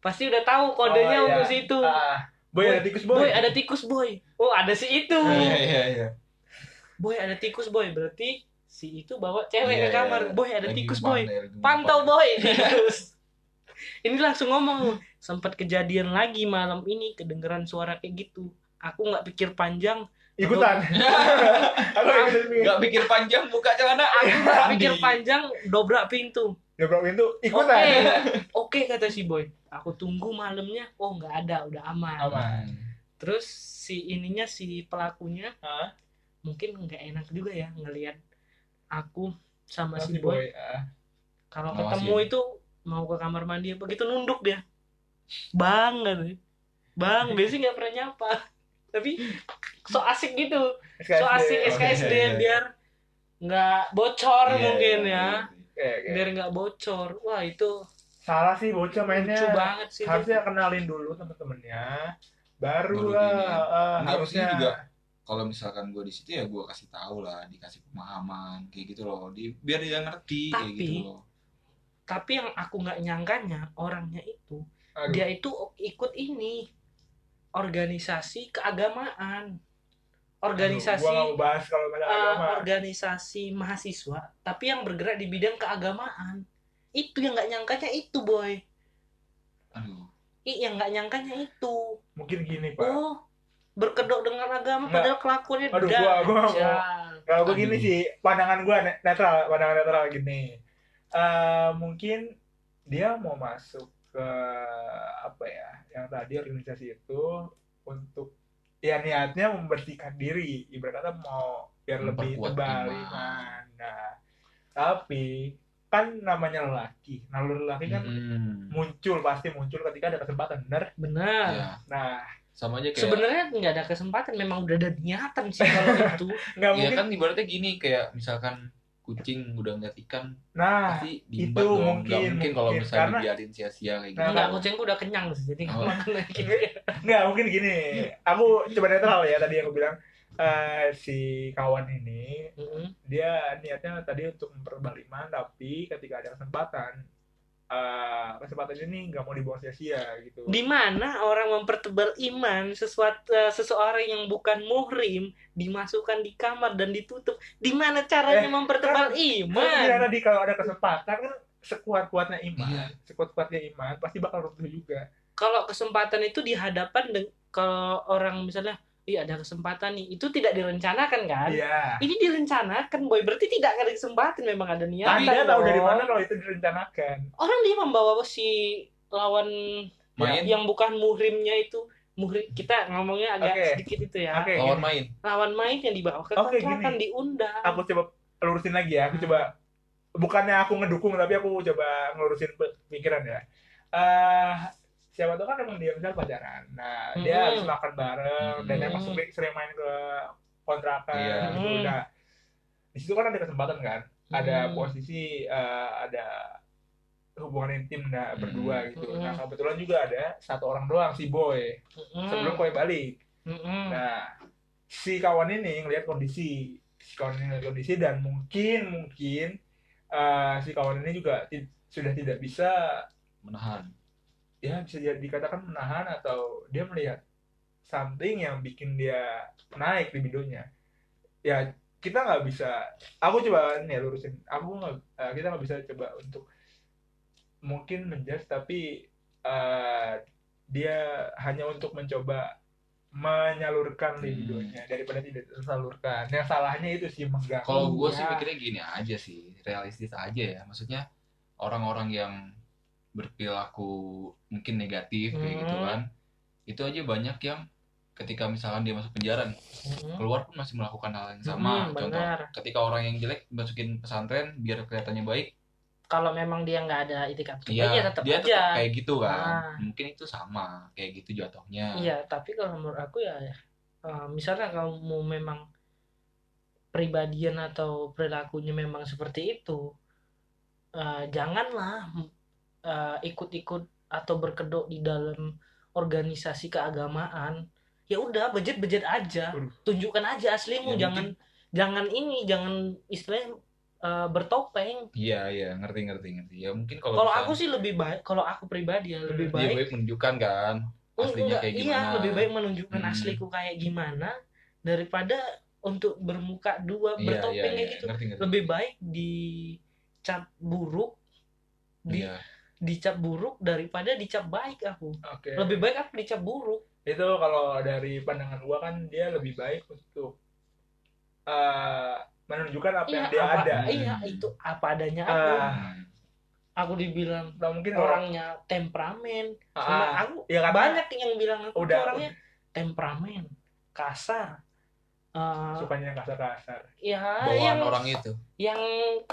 S2: pasti udah tahu kodenya
S3: Oh,
S2: untuk
S3: iya.
S2: situ
S3: Ah, ah. Boy, ada tikus boy.
S2: boy ada tikus boy oh ada si itu
S1: Iya, iya, iya.
S2: boy ada tikus boy berarti si itu bawa cewek
S1: Iya,
S2: ke kamar
S1: iya.
S2: boy ada
S1: Lagi
S2: tikus
S1: umpan,
S2: boy
S1: ya, lagi umpan.
S2: pantau boy Terus, ini langsung ngomong sempat kejadian lagi malam ini kedengeran suara kayak gitu aku nggak pikir panjang
S3: Ikutan.
S2: Ah.
S3: Aku ikutan nih.
S1: Enggak pikir panjang buka celana.
S2: Nggak pikir panjang dobrak pintu
S3: Dobrak pintu,
S2: oke
S3: ikutan.
S2: oke kata si boy aku tunggu malamnya oh nggak ada udah aman
S3: Aman.
S2: terus si ininya si pelakunya
S3: Ah,
S2: mungkin nggak enak juga ya ngelihat aku sama
S3: masih
S2: si boy
S3: boy. Ah.
S2: kalau
S1: Ngawasin.
S2: ketemu itu mau ke kamar mandi begitu nunduk dia bang katanya. bang biasanya nggak pernah nyapa tapi so asik gitu so asik
S1: SKSD.
S2: SKSD
S1: Oke.
S2: biar nggak bocor
S1: Iya,
S2: mungkin
S1: iya,
S2: ya
S3: Oke, oke.
S2: biar nggak bocor wah itu
S3: Salah sih bocah mainnya.
S2: lucu banget sih
S3: Harusnya kenalin dulu temen-temennya.
S1: Baru
S3: Baru lah.
S1: gini.
S3: ah,
S1: Ini
S3: harusnya
S1: harusnya juga kalau misalkan gue di situ ya gue kasih tahu lah dikasih pemahaman kayak gitu loh di, biar dia ngerti kayak
S2: Tapi-
S1: gitu loh
S2: tapi yang aku nggak nyangkanya orangnya itu
S3: Aduh.
S2: dia itu ikut ini organisasi keagamaan
S3: Aduh, gua nggak
S2: organisasi
S3: mau bahas kalau
S2: eh,
S3: ada agama.
S2: organisasi mahasiswa tapi yang bergerak di bidang keagamaan itu yang nggak nyangkanya itu boy
S1: aduh
S2: Ih, yang nggak nyangkanya itu
S3: Mungkin gini, Pak.
S2: oh berkedok dengan agama
S3: Nggak.
S2: padahal kelakuannya Iya.
S3: Aduh,
S2: dajjal.
S3: gua, gua nggak mau. Kalau gue gini
S1: Aduh.
S3: sih, pandangan gue netral, pandangan netral gini. Eh mungkin dia mau masuk ke apa ya, yang tadi organisasi itu untuk ya niatnya membersihkan diri, ibarat kata mau biar lebih
S1: Memperkuat
S3: tebal
S1: iman.
S3: iman. Nah, tapi kan namanya lelaki, nah lelaki kan
S1: Mm-mm.
S3: muncul pasti muncul ketika ada kesempatan, bener?
S2: benar
S1: ya
S3: Nah,
S1: sama aja kayak
S2: sebenarnya nggak ada kesempatan memang udah ada niatan sih kalau itu
S3: nggak
S1: ya
S3: mungkin. Nah,
S1: kan ibaratnya gini kayak misalkan kucing udah ngeliat ikan
S3: Nah,
S1: pasti diimbat
S3: itu
S1: dong Nggak
S3: mungkin,
S1: mungkin kalau
S3: mungkin.
S1: misalnya
S3: Karena-
S1: dibiarin sia-sia kayak gitu
S2: Enggak, kucingku udah kenyang sih, jadi nggak
S1: Oh.
S2: makan lagi. Iya.
S3: Nggak, mungkin gini. Aku coba netral ya tadi aku bilang eh, si kawan ini
S2: Mm-mm.
S3: dia niatnya tadi untuk mempertebal iman tapi ketika ada kesempatan eh, kesempatan ini nggak mau dibuang sia-sia gitu.
S2: Di mana orang mempertebal iman sesuatu eh, seseorang yang bukan muhrim dimasukkan di kamar dan ditutup. Di mana caranya
S3: Eh,
S2: mempertebal
S3: Kan
S2: iman?
S3: bilang tadi kalau ada kesempatan kan sekuat-kuatnya iman,
S1: Iya.
S3: sekuat-kuatnya iman pasti bakal runtuh juga.
S2: Kalau kesempatan itu di hadapan deng- kalau orang misalnya, iya ada kesempatan nih, itu tidak direncanakan kan?
S3: Iya.
S2: Ini direncanakan, boy. Berarti tidak ada kesempatan, memang ada niatan.
S3: Tapi dia Iya. tahu dari
S2: Iya, dong.
S3: mana kalau itu direncanakan.
S2: Orang dia membawa si lawan
S1: main
S2: yang bukan muhrimnya itu muhrim kita ngomongnya agak
S3: Oke.
S2: sedikit itu ya
S3: Oke,
S1: lawan
S3: gini.
S1: main
S2: lawan main yang dibawa ke
S3: Oke,
S2: kontrakan
S3: gini.
S2: diundang
S3: aku coba lurusin lagi ya. Aku coba bukannya aku ngedukung tapi aku coba ngelurusin pe- pikiran ya. Eh siapa tahu kan emang dia misal pacaran. Nah, dia
S2: Mm-mm.
S3: habis makan bareng dan
S1: Mm-mm.
S3: emang sering, sering main ke kontrakan
S1: Iya.
S3: gitu.
S2: Mm.
S3: Nah, di situ kan ada kesempatan kan. Ada
S2: Hmm.
S3: posisi eh, ada hubungan intim nah berdua gitu.
S2: Mm-mm.
S3: Nah, kebetulan juga ada satu orang doang si boy
S2: Mm-mm.
S3: sebelum kowe balik.
S2: Mm-mm.
S3: Nah, si kawan ini ngelihat kondisi, si kawan ini ngelihat kondisi dan mungkin mungkin eh eh, si kawan ini juga ti- sudah tidak bisa
S1: menahan
S3: ya bisa jadi dikatakan menahan atau dia melihat something yang bikin dia naik libidonya ya kita nggak bisa aku coba nih lurusin aku nggak eh, kita nggak bisa coba untuk mungkin menjudge tapi eh, dia hanya untuk mencoba menyalurkan
S1: Hmm.
S3: libidonya daripada tidak tersalurkan yang salahnya itu sih Ya, menggang
S1: Kalau gue sih
S2: Iya.
S1: mikirnya gini aja sih, realistis aja ya. Maksudnya orang-orang yang berperilaku mungkin negatif kayak
S2: Hmm.
S1: gitu kan, itu aja banyak yang ketika misalkan dia masuk penjara, nih,
S2: Hmm.
S1: keluar pun masih melakukan hal yang sama.
S2: Hmm,
S1: Contoh,
S2: benar.
S1: ketika orang yang jelek masukin pesantren biar kelihatannya baik,
S2: Kalau memang dia nggak ada itikat baik,
S1: iya
S2: ya tetap
S1: dia
S2: aja.
S1: tetap kayak gitu kan.
S2: Ah.
S1: Mungkin itu sama kayak gitu jatuhnya.
S2: Iya, tapi kalau menurut aku ya, eh, misalnya kamu memang pribadian atau perilakunya memang seperti itu, eh, janganlah eh, ikut-ikut atau berkedok di dalam organisasi keagamaan. Ya udah, budget-budget aja,
S3: Waduh.
S2: tunjukkan aja aslimu,
S1: Ya,
S2: jangan jangan ini, jangan istilahnya eh, bertopeng.
S1: Iya iya ngerti ngerti ngerti. Ya mungkin kalau Iya,
S2: Kalau
S1: misalkan
S2: aku sih lebih baik, kalau aku pribadi ya lebih
S1: dia
S2: baik
S1: baik menunjukkan kan aslinya
S2: Enggak,
S1: kayak
S2: iya
S1: gimana.
S2: lebih baik menunjukkan
S1: Hmm.
S2: asliku kayak gimana daripada untuk bermuka dua
S1: Iya
S2: bertopeng
S1: iya
S2: kayak
S1: iya
S2: gitu
S1: ngerti ngerti.
S2: lebih baik dicap buruk di,
S1: Iya.
S2: dicap buruk daripada dicap baik aku
S3: Oke.
S1: Iya.
S2: lebih baik aku dicap buruk
S3: itu kalau dari pandangan gua kan dia lebih baik untuk eh, menunjukkan apa yang dia
S2: apa,
S3: ada
S2: iya
S1: Hmm.
S2: itu apa adanya aku
S3: Ah,
S2: aku dibilang
S3: atau mungkin orang
S2: orangnya temperamen
S3: Ah,
S2: Oh, sama aku
S3: ya karena
S2: banyak yang bilang aku tuh
S3: udah
S2: orangnya temperamen kasar
S3: udah
S2: Eh,
S3: sukanya kasar-kasar
S2: ya
S1: bawaan
S2: yang-
S1: orang itu
S2: yang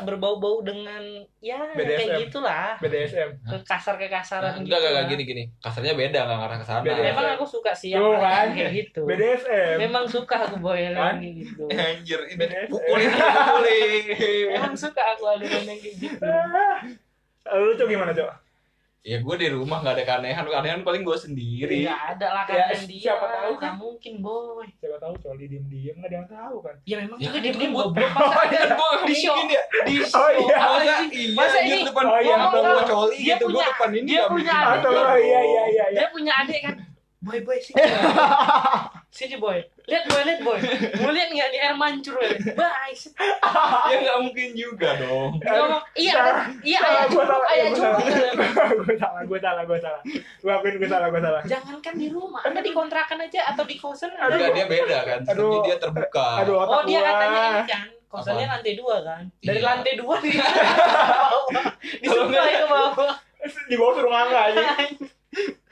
S2: berbau-bau dengan ya
S3: BDSM.
S2: kayak gitulah
S3: BDSM
S2: kasar gitu ya. kekasaran
S1: Nah, enggak enggak enggak
S2: lah.
S1: gini gini kasarnya beda nggak ngarah ke sana
S3: Beda. ya?
S2: memang aku suka sih yang
S3: Nah, Tuh kan.
S2: kayak gitu
S3: BDSM
S2: memang suka aku boy yang
S3: Kan?
S2: gitu
S1: anjir ini
S3: Beda.
S1: pukulin pukulin
S2: memang suka aku adegan yang kayak gitu
S3: Ah. lu tuh gimana cok
S1: ya gue di rumah nggak ada keanehan keanehan paling gue sendiri
S2: nggak ada lah
S3: Ya,
S2: kan dia
S3: siapa tahu kan.
S2: nggak mungkin boy
S3: siapa tahu coli diem diem nggak ada yang tahu kan
S2: ya memang
S1: Ya
S2: juga
S1: kan,
S2: dia dia
S1: kan
S2: buat
S1: gua- gue
S2: Di show.
S1: ya di show
S3: Oh, iya.
S1: masa
S2: Apalagi-
S1: iya
S2: masa
S1: anjir,
S2: ini-
S1: depan
S3: Oh, iya,
S1: gua
S3: betul.
S1: mau coli
S2: Dia
S1: gitu gue
S2: punya-
S1: depan ini
S2: dia
S1: nggak
S2: punya
S1: mungkin
S3: atau
S1: ada.
S3: iya iya iya iya
S2: dia punya adik kan boy boy sini sini boy lihat boy lihat boy mau lihat nggak di air mancur boy bye
S1: ya nggak mungkin juga dong
S2: Dia ngomong iya
S3: Salah.
S2: iya
S3: salah
S2: ayah
S3: gue
S2: cukup
S3: salah
S2: ayah
S3: gue
S2: cukup
S3: salah gue salah gue salah gue salah gue akuin gue salah gue salah
S2: Jangankan di rumah, anda dikontrakan aja atau di kosan ada.
S1: Enggak, dia beda kan
S3: Aduh.
S1: Jadi dia terbuka
S3: aduh otak
S2: Oh dia
S3: gua.
S2: katanya ini kan, kosannya lantai dua kan. Dari
S1: Iya.
S2: lantai dua di di sebelah ke bawah.
S3: di bawah suruh ngangga aja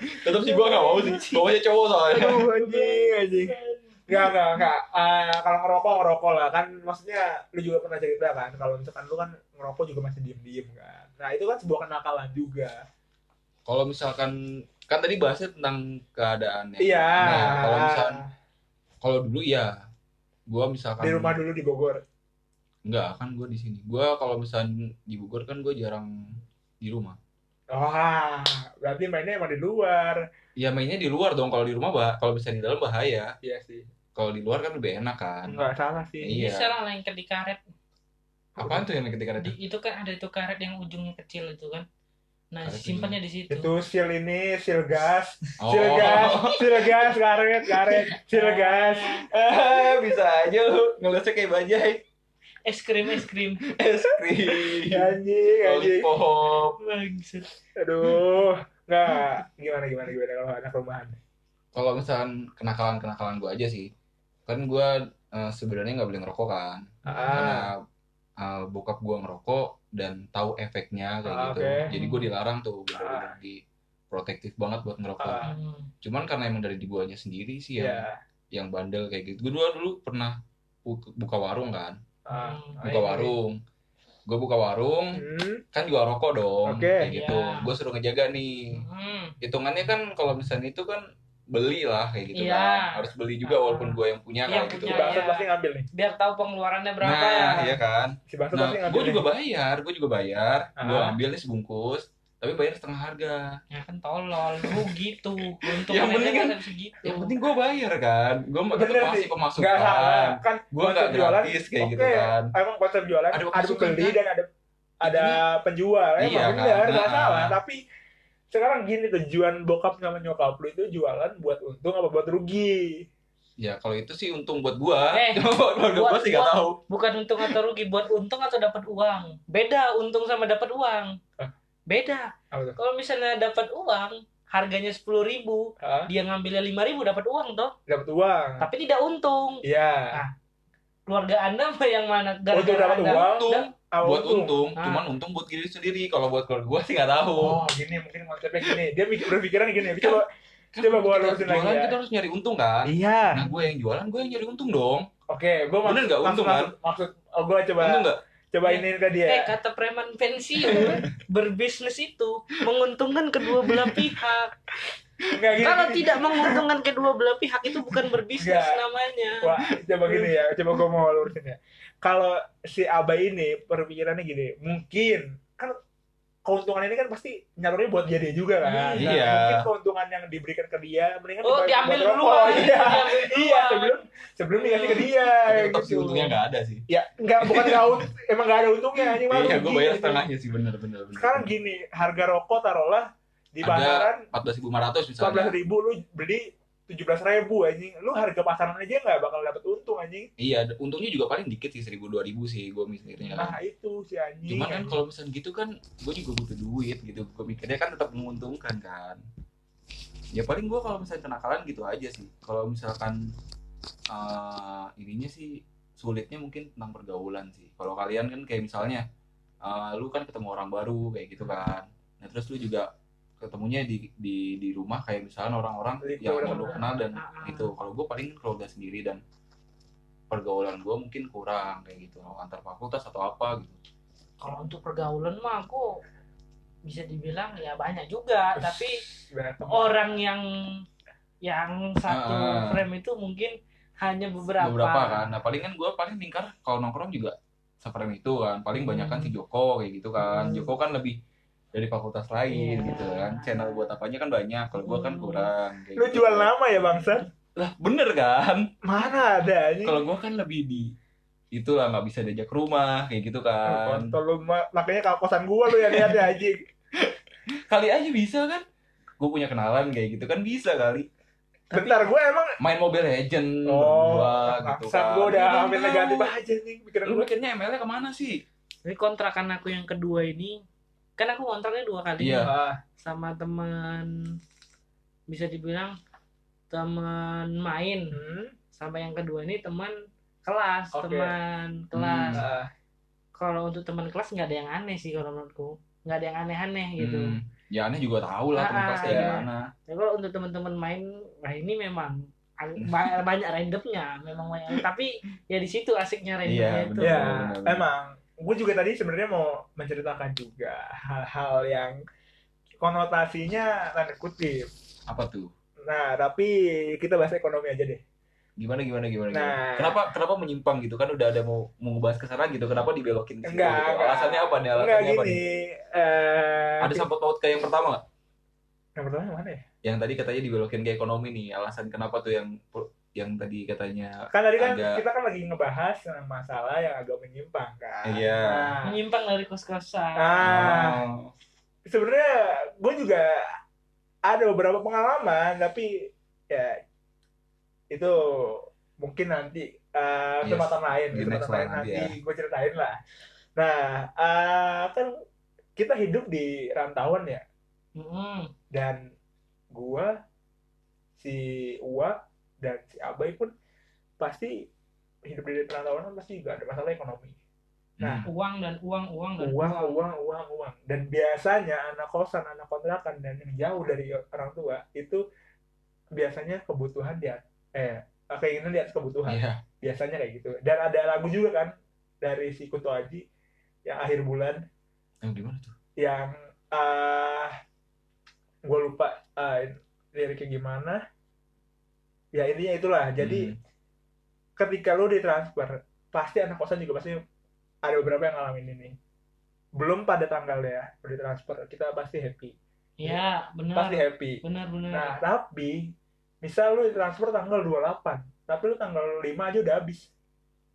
S1: tetap sih gue nggak mau sih bawahnya cowok soalnya
S3: aduh anjing anjing Enggak, enggak, enggak. Eh, kalau ngerokok, ngerokok lah. Kan maksudnya lu juga pernah cerita kan. Kalau misalkan lu kan ngerokok juga masih diem-diem kan. Nah itu kan sebuah kenakalan juga.
S1: kalau misalkan kan tadi bahasnya tentang keadaannya
S3: Iya.
S1: Nah, kalau misalkan kalau dulu ya gua misalkan
S3: Di rumah dulu di Bogor.
S1: enggak kan gua di sini gua kalau misalkan di Bogor kan gua jarang di rumah
S3: Wah, berarti mainnya emang di luar.
S1: ya mainnya di luar dong kalau di rumah bah kalau bisa di dalam bahaya
S3: Iya sih.
S1: kalau di luar kan lebih enak kan
S3: Enggak salah sih.
S1: Iya.
S2: Bisa lah yang di karet.
S1: apaan tuh yang ketika ada
S2: Di, itu kan ada itu karet yang ujungnya kecil itu kan. Nah,
S1: Karet
S2: simpannya di situ.
S3: Itu seal ini, seal gas,
S1: oh
S3: seal gas, seal gas, karet, karet, seal gas.
S1: Eh, bisa aja lu ngelesnya kayak bajai
S2: Es krim, es krim.
S1: es krim
S3: Anjing,
S1: iya.
S3: anjing.
S1: lollipop
S2: Bangsat.
S3: Aduh. Enggak, gimana gimana gimana kalau anak rumahan.
S1: kalau misalkan kenakalan kenakalan gua aja sih kan gua eh, sebenarnya nggak boleh ngerokok kan karena uh,
S3: Ah,
S1: bokap gua ngerokok dan tahu efeknya kayak
S3: Ah,
S1: gitu.
S3: oke.
S1: Jadi gua dilarang tuh bener-bener di protektif banget buat ngerokok.
S3: Ah.
S2: Hmm.
S1: Cuman karena emang dari di guanya sendiri sih yang
S3: iya.
S1: yang bandel kayak gitu. Gua dulu, dulu pernah bu- buka warung kan,
S3: Ah,
S2: Hmm.
S1: buka
S2: iya,
S3: ayo.
S1: warung. Gua buka warung,
S3: Hmm.
S1: kan jual rokok dong
S3: Oke.
S1: kayak gitu.
S2: Iya.
S1: Gua suruh ngejaga nih.
S2: Hmm.
S1: Hitungannya kan kalau misalnya itu kan beli lah kayak gitu
S2: Iya.
S1: kan. Harus beli juga walaupun gua yang punya
S2: Yang
S1: kayak
S2: punya,
S1: gitu.
S3: Si
S2: iya.
S3: Bangsat pasti ngambil nih.
S2: Biar tahu pengeluarannya berapa. ya?
S1: Nah, iya kan.
S3: Si Bangsat
S1: Nah,
S3: pasti ngambil.
S1: gue juga bayar, gue juga bayar. Gue
S3: Ah.
S1: ambil nih sebungkus, tapi bayar setengah harga.
S2: Ya kan tolol, rugi tuh. Untung
S1: Yang penting kan-
S2: segitu. Eh,
S1: Yang penting gue bayar kan, gue
S3: Oh. Bener
S1: masih
S3: sih. Enggak salah.
S1: pemasukan.
S3: Kan
S1: Gue
S3: konsep
S1: nggak
S3: jualan.
S1: gratis kayak
S3: Oke.
S1: gitu kan.
S3: Emang konsep jualan
S1: Ada
S3: ada,
S1: pemasukan,
S3: beli
S1: kan?
S3: dan ada ada penjual ya
S1: Iya,
S3: emang bener
S1: kan?
S3: nggak
S1: Ah.
S3: salah tapi sekarang gini tujuan bokap sama nyokap lu itu jualan buat untung apa buat rugi
S1: ya kalau itu sih untung buat gua
S2: Eh,
S1: Cuma buat keluarga gua
S2: buat
S1: sih nggak
S2: gua.
S1: tahu
S2: Bukan untung atau rugi, buat untung atau dapat uang. Beda untung sama dapat uang.
S3: Hah?
S2: Beda.
S3: Apa tuh?
S2: Kalau misalnya dapat uang, harganya sepuluh ribu,
S3: Hah?
S2: dia ngambilnya lima ribu dapat uang toh,
S3: dapat uang
S2: tapi tidak untung.
S3: iya
S2: Ah, keluarga anda yang mana
S3: untuk
S2: gara-gara
S3: Oh, dapat
S2: anda
S3: uang
S1: untung
S3: apa
S1: buat untung
S2: Ah.
S1: cuman untung buat diri sendiri kalau buat keluarga gua sih nggak tahu
S3: oh gini mungkin konsepnya gini dia mikir berpikiran gini
S1: Iya.
S3: coba Coba
S1: Kan
S3: gua
S1: Kita
S3: lurusin lagi
S1: jualan
S3: ya.
S1: kita harus nyari untung kan
S3: iya
S1: nah gue yang jualan gue yang nyari untung dong
S3: Oke, gue
S1: Bener nggak? Untung, kan?
S3: maksud oh, gue coba
S1: untung nggak
S3: coba ini ya. ke dia.
S2: Eh kata preman pensiun berbisnis itu menguntungkan kedua belah pihak.
S3: Enggak gini.
S2: Kalau
S3: gini.
S2: tidak menguntungkan kedua belah pihak itu bukan berbisnis
S3: Enggak.
S2: namanya.
S3: Iya. Wah, coba gini ya, coba gue mau lurusin ya. Kalau si Aba ini berpikirannya gini, mungkin kan keuntungan ini kan pasti nyaruhnya buat dia dia juga
S1: Iya.
S3: kan. Nah,
S1: Iya.
S3: mungkin keuntungan yang diberikan ke dia mendingan
S2: Oh
S3: dipakai
S2: diambil
S3: buat
S2: dulu
S3: rokok. Iya.
S2: diambil
S3: Iya,
S2: duluan.
S3: sebelum sebelum dikasih ke dia
S1: tapi
S3: kayak
S1: tetap sih
S3: gitu.
S1: untungnya nggak ada sih
S3: Ya, enggak bukan enggak untung, emang enggak ada untungnya anjing malu.
S1: iya gue
S3: Gini,
S1: bayar
S3: gitu.
S1: setengahnya sih bener bener bener
S3: Sekarang gini, harga rokok taruhlah di
S1: Ada
S3: pasaran
S1: empat belas
S3: empat belas
S1: misalnya
S3: ribu lu beli tujuh belas ribu anjing lu harga pasaran aja nggak bakal dapet untung anjing
S1: iya untungnya juga paling dikit sih seribu dua ribu sih gue mikirnya
S3: nah itu si
S2: Iya
S3: anjing
S1: cuman kan kalau misalnya gitu kan gue juga butuh duit gitu gue mikirnya kan tetap menguntungkan kan ya paling gue kalau misalnya kenakalan gitu aja sih kalau misalkan eh, ininya sih sulitnya mungkin tentang pergaulan sih kalau kalian kan kayak misalnya eh, lu kan ketemu orang baru kayak gitu kan nah terus lu juga ketemunya di di di rumah kayak misalnya orang-orang
S3: Itu
S1: yang
S3: udah
S1: mau lu
S3: kenal.
S1: kenal dan
S2: Ah, ah.
S1: itu kalau gue paling keluarga sendiri dan pergaulan gue mungkin kurang kayak gitu antar fakultas atau apa gitu
S2: Kalau untuk pergaulan mah aku bisa dibilang ya banyak
S3: Ah,
S2: juga, tapi
S3: Banyak teman.
S2: orang yang yang satu
S1: Ah.
S2: frame itu mungkin hanya beberapa.
S1: beberapa kan nah paling kan gue paling lingkar kalau nongkrong juga seperti itu kan paling banyak kan si Joko kayak gitu kan
S2: Hmm.
S1: Joko kan lebih dari fakultas lain
S2: Iya.
S1: gitu kan channel buat apanya kan banyak kalau gue kan
S2: Hmm.
S1: kurang kayak
S3: lu
S1: gitu.
S3: jual nama ya bangsa
S1: lah bener kan
S3: mana ada anjing
S1: kalau gue kan lebih di itulah nggak bisa diajak ke rumah kayak gitu kan
S3: kontol lu ma- makanya kaposan gua lu yang lihat ya anjing
S1: kali aja bisa kan gue punya kenalan kayak gitu kan bisa kali
S3: bentar gua emang
S1: main Mobile Legend
S3: oh
S1: berdua Hmm, gitu
S3: bangsa
S1: kan
S3: gua udah
S2: Iya,
S1: Lu
S3: hampir
S1: tahu.
S3: negatif aja anjing pikiran
S1: lu
S3: gua
S1: mikirnya ML-nya kemana sih
S2: Jadi kontrakan aku yang kedua ini kan aku kontraknya dua kali
S1: Iya.
S3: Ah,
S2: sama teman bisa dibilang teman main
S3: hmm,
S2: sama yang kedua ini teman kelas
S3: Oke.
S2: teman kelas
S1: Hmm.
S3: ah,
S2: kalau untuk teman kelas nggak ada yang aneh sih kalau menurutku nggak ada yang aneh-aneh gitu
S1: Hmm. ya aneh juga tahu lah teman
S2: Ah,
S1: kelas kayak
S2: iya.
S1: gimana
S2: Tapi kalau untuk teman-teman main, nah ini memang an- ba- banyak randomnya, memang banyak. Tapi ya di situ asiknya randomnya
S1: Iya,
S2: itu.
S1: benar.
S3: ya
S1: benar.
S3: emang gua juga tadi sebenarnya mau menceritakan juga hal-hal yang konotasinya tanda kutip
S1: apa tuh
S3: Nah, tapi kita bahas ekonomi aja deh.
S1: gimana gimana gimana, gimana?
S3: Nah.
S1: kenapa kenapa menyimpang gitu kan udah ada mau mau bahas kesana gitu kenapa dibelokin ke situ
S3: Enggak,
S1: gitu?
S3: enggak.
S1: alasannya apa nih
S3: Enggak
S1: alasannya apa
S3: gini.
S1: nih
S3: eh
S1: ada sangkut paut kayak yang pertama nggak
S3: yang pertama yang mana ya?
S1: yang tadi katanya dibelokin ke ekonomi nih alasan kenapa tuh yang yang tadi katanya
S3: Kan tadi kan
S1: Agak-
S3: kita kan lagi ngebahas tentang masalah yang agak menyimpang kan.
S1: Iya.
S3: Nah,
S2: Menyimpang dari kos-kosan.
S3: nah,
S1: Oh.
S3: sebenarnya gue juga ada beberapa pengalaman tapi ya itu mungkin nanti eh,
S1: Yes,
S3: kesempatan lain
S1: di
S3: kesempatan
S1: next
S3: lain
S1: lah nanti ya.
S3: nanti gue ceritain lah nah eh, kan kita hidup di rantauan ya
S2: Mm-mm.
S3: dan gua si Uwa dan si Abai pun pasti hidup di perantauan pasti juga ada masalah ekonomi Nah.
S2: Uang dan uang, uang dan
S3: uang uang uang uang dan biasanya anak kosan anak kontrakan dan yang jauh dari orang tua itu biasanya kebutuhan dia eh keinginan di atas kebutuhan
S1: Iya.
S3: biasanya kayak gitu dan ada lagu juga kan dari si Kuto Aji yang akhir bulan
S1: yang gimana tuh
S3: yang ah gue lupa ah, liriknya gimana ya intinya itulah jadi
S1: Hmm.
S3: ketika lo ditransfer pasti anak kosan juga pasti ada beberapa yang ngalamin ini belum pada tanggalnya udah transfer kita pasti happy
S2: Ya,
S3: pasti
S2: benar.
S3: happy
S2: Benar, benar.
S3: nah tapi misal lu transfer tanggal 28 tapi lu tanggal 5 aja udah habis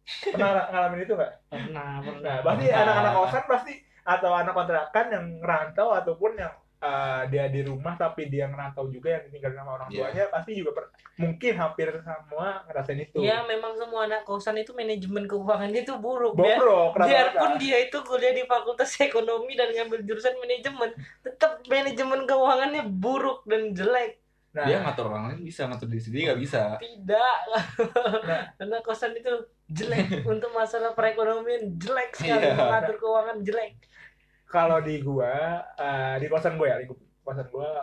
S3: pernah ngalamin itu nggak
S2: Pernah, pernah.
S3: Nah, pasti
S1: Nah.
S3: anak-anak kosan pasti atau anak kontrakan yang ngerantau ataupun yang eh, dia di rumah tapi dia ngerantau juga yang tinggal sama orang
S1: Iya.
S3: tuanya pasti juga per- mungkin hampir semua ngerasain itu.
S2: Ya memang semua anak kosan itu manajemen keuangannya itu buruk ya.
S3: Bobrok
S2: Biarpun dia itu kuliah di Fakultas Ekonomi dan ngambil jurusan manajemen, tetap manajemen keuangannya buruk dan jelek.
S3: Nah,
S1: Dia ngatur orang lain bisa, ngatur diri sendiri nggak bisa.
S2: Tidak.
S1: Nah.
S2: Anak kosan itu jelek untuk masalah perekonomian jelek sekali,
S1: Iya.
S2: mengatur keuangan jelek.
S3: kalau di gua eh, di kosan gua ya di kosan gua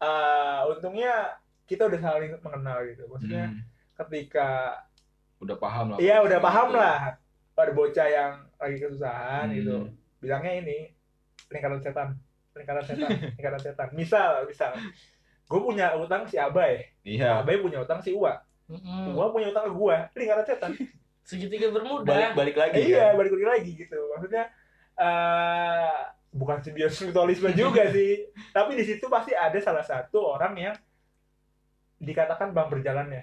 S3: eh, untungnya kita udah saling mengenal gitu. Maksudnya
S1: Hmm,
S3: ketika
S1: udah paham lah.
S3: Iya udah paham lah. Ada bocah yang lagi kesusahan
S1: Hmm.
S3: gitu. Bilangnya ini lingkaran setan, lingkaran setan, lingkaran setan. Misal, misal, gue punya utang si Abai,
S1: Iya.
S3: Abai punya utang si Uwa,
S2: Mm-mm.
S3: Uwa punya utang ke gue, lingkaran setan.
S2: Segitiga bermuda.
S1: Balik-balik lagi.
S3: iya
S1: kan?
S3: balik lagi gitu. Maksudnya eh bukan simbiosis mutualisme juga sih, tapi di situ pasti ada salah satu orang yang dikatakan bang berjalannya.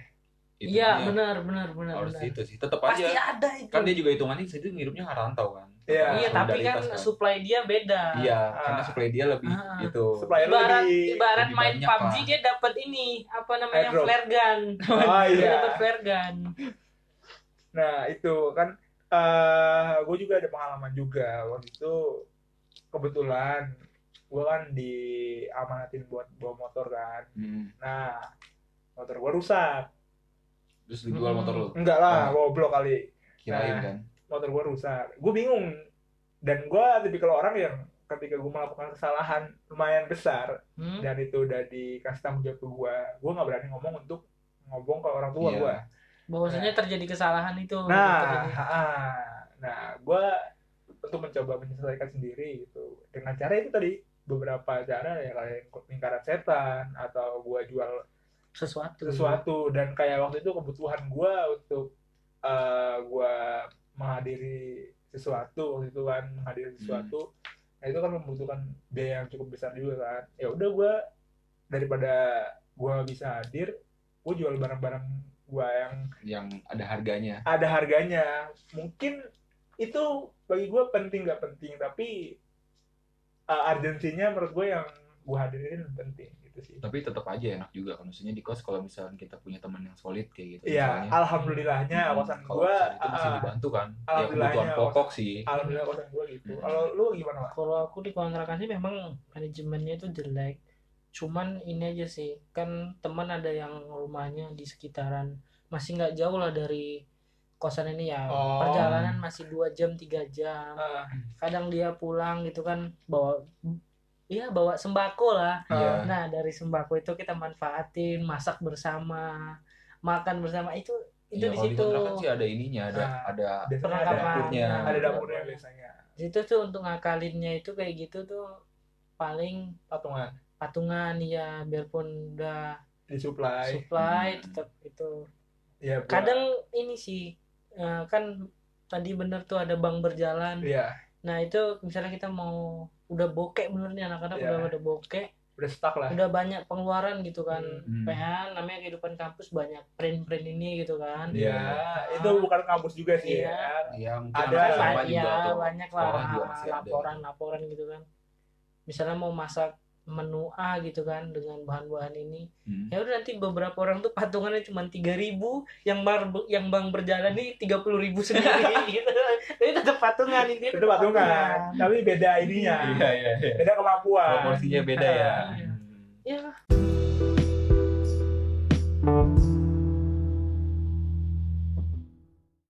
S1: Itu
S2: Iya,
S1: dia.
S2: benar, benar, benar.
S1: Harus
S2: benar.
S1: itu sih. Tetap
S2: Pasti
S1: aja.
S2: ada itu.
S1: Kan dia juga hitungannya itu ngirupnya ngarantau kan.
S3: Iya.
S1: Karena
S2: Iya, tapi kan
S1: solidaritas
S2: supply dia beda.
S1: Iya, karena
S3: Ah.
S1: supply dia lebih
S2: Ah.
S1: gitu.
S3: Supplier
S2: Ibarat,
S3: lebih.
S2: ibarat
S1: lebih
S2: main
S1: banyak,
S2: PUBG
S1: Pak.
S2: dia dapat ini apa namanya
S3: Airdrop.
S2: flare gun.
S3: Oh
S2: Dia
S3: iya.
S2: dapat flare gun.
S3: Nah itu kan eh gue juga ada pengalaman juga waktu itu kebetulan gue kan diamanatin buat bawa motor kan.
S1: Hmm.
S3: Nah motor gue rusak.
S1: Terus dijual
S2: Hmm.
S1: motor lu.
S3: Enggak lah, goblok kali.
S1: Kirain
S3: Nah.
S1: kan.
S3: Motor gue rusak. Gue bingung. Dan gue tipikal orang yang ketika gue melakukan kesalahan lumayan besar
S2: Hmm?
S1: Nah.
S3: dan itu udah dikasih tanggung jawab ke gue, gue nggak berani ngomong untuk ngomong ke orang tua
S1: Iya.
S3: gue.
S2: Bahwasanya terjadi kesalahan itu.
S3: Nah,
S2: Terjadi.
S3: ah, nah, gue untuk mencoba menyelesaikan sendiri gitu dengan cara itu tadi beberapa cara ya kayak lingkaran setan atau gue jual
S2: sesuatu.
S3: sesuatu dan kayak waktu itu kebutuhan gue untuk gue menghadiri sesuatu waktu itu kan menghadiri sesuatu nah itu kan membutuhkan biaya yang cukup besar juga kan ya udah gue daripada gue bisa hadir gue jual barang-barang gue yang
S1: Yang ada harganya.
S3: ada harganya mungkin itu bagi gue penting nggak penting tapi uh, urgensinya menurut gue yang gue hadirin penting gitu sih
S1: Tapi tetap aja enak juga kan. Maksudnya di kos kalau misalkan kita punya teman yang solid kayak gitu.
S3: Iya,
S1: misalnya.
S3: alhamdulillahnya
S1: Hmm,
S3: kosan
S1: kalau
S3: gue,
S1: misalnya itu masih
S3: uh,
S1: dibantu kan. Ya
S3: alhamdulillahnya
S1: kebutuhan
S3: kosan-
S1: pokok sih.
S3: alhamdulillah kosan gue gitu.
S1: Hmm.
S3: Kalau lu gimana, Pak?
S2: Kalau aku di kontrakan sih memang manajemennya itu jelek. Cuman ini aja sih, kan teman ada yang rumahnya di sekitaran masih nggak jauh lah dari kosan ini ya.
S3: Oh.
S2: Perjalanan masih dua jam, tiga jam.
S3: Ah,
S2: kadang dia pulang gitu kan bawa ya bawa sembako lah
S1: Iya.
S3: ah,
S2: nah dari sembako itu kita manfaatin masak bersama makan bersama itu
S1: Iya,
S2: itu di
S1: kalau
S2: situ
S1: kontrakan sih ada ininya, ada
S3: Nah.
S1: ada
S3: biasanya ada
S2: perlengkapan.
S3: dapurnya,
S1: Nah,
S3: ada dapurnya biasanya.
S2: di situ tuh untuk ngakalinnya itu kayak gitu tuh paling
S3: Patungan,
S2: patungan ya biarpun udah
S3: disuplai.
S2: supply
S1: Hmm.
S2: tetap itu
S3: Ya, gua-
S2: kadang ini sih eh, kan tadi bener tuh ada bank berjalan
S3: Iya,
S2: nah itu misalnya kita mau udah bokek bener nih anak-anak
S3: Iya.
S2: udah udah bokek
S3: udah stuck
S1: Iya.
S3: lah.
S2: udah banyak pengeluaran gitu kan
S1: Hmm.
S2: PH namanya kehidupan kampus banyak print-print ini gitu kan
S3: Iya, itu bukan kampus juga sih.
S2: Iya.
S3: ya.
S1: ya mungkin
S3: Ada.
S1: anak
S2: Ba-
S1: SMA juga
S2: ya
S1: atau
S2: banyak
S1: orang juga
S2: lah
S1: masih ada.
S2: laporan-laporan gitu kan misalnya mau masak menu A gitu kan dengan bahan-bahan ini
S1: Hmm.
S2: ya udah nanti beberapa orang tuh patungannya cuma tiga ribu yang bar yang bang berjalan nih tiga puluh ribu sendiri gitu tapi tetap patungan ini
S3: ya. Itu
S2: Iya.
S3: patungan, tapi beda
S1: Iya
S3: ininya,
S1: ya. iya iya.
S3: beda kemampuan.
S1: Proporsinya beda ya.
S2: Iya.
S1: Hmm.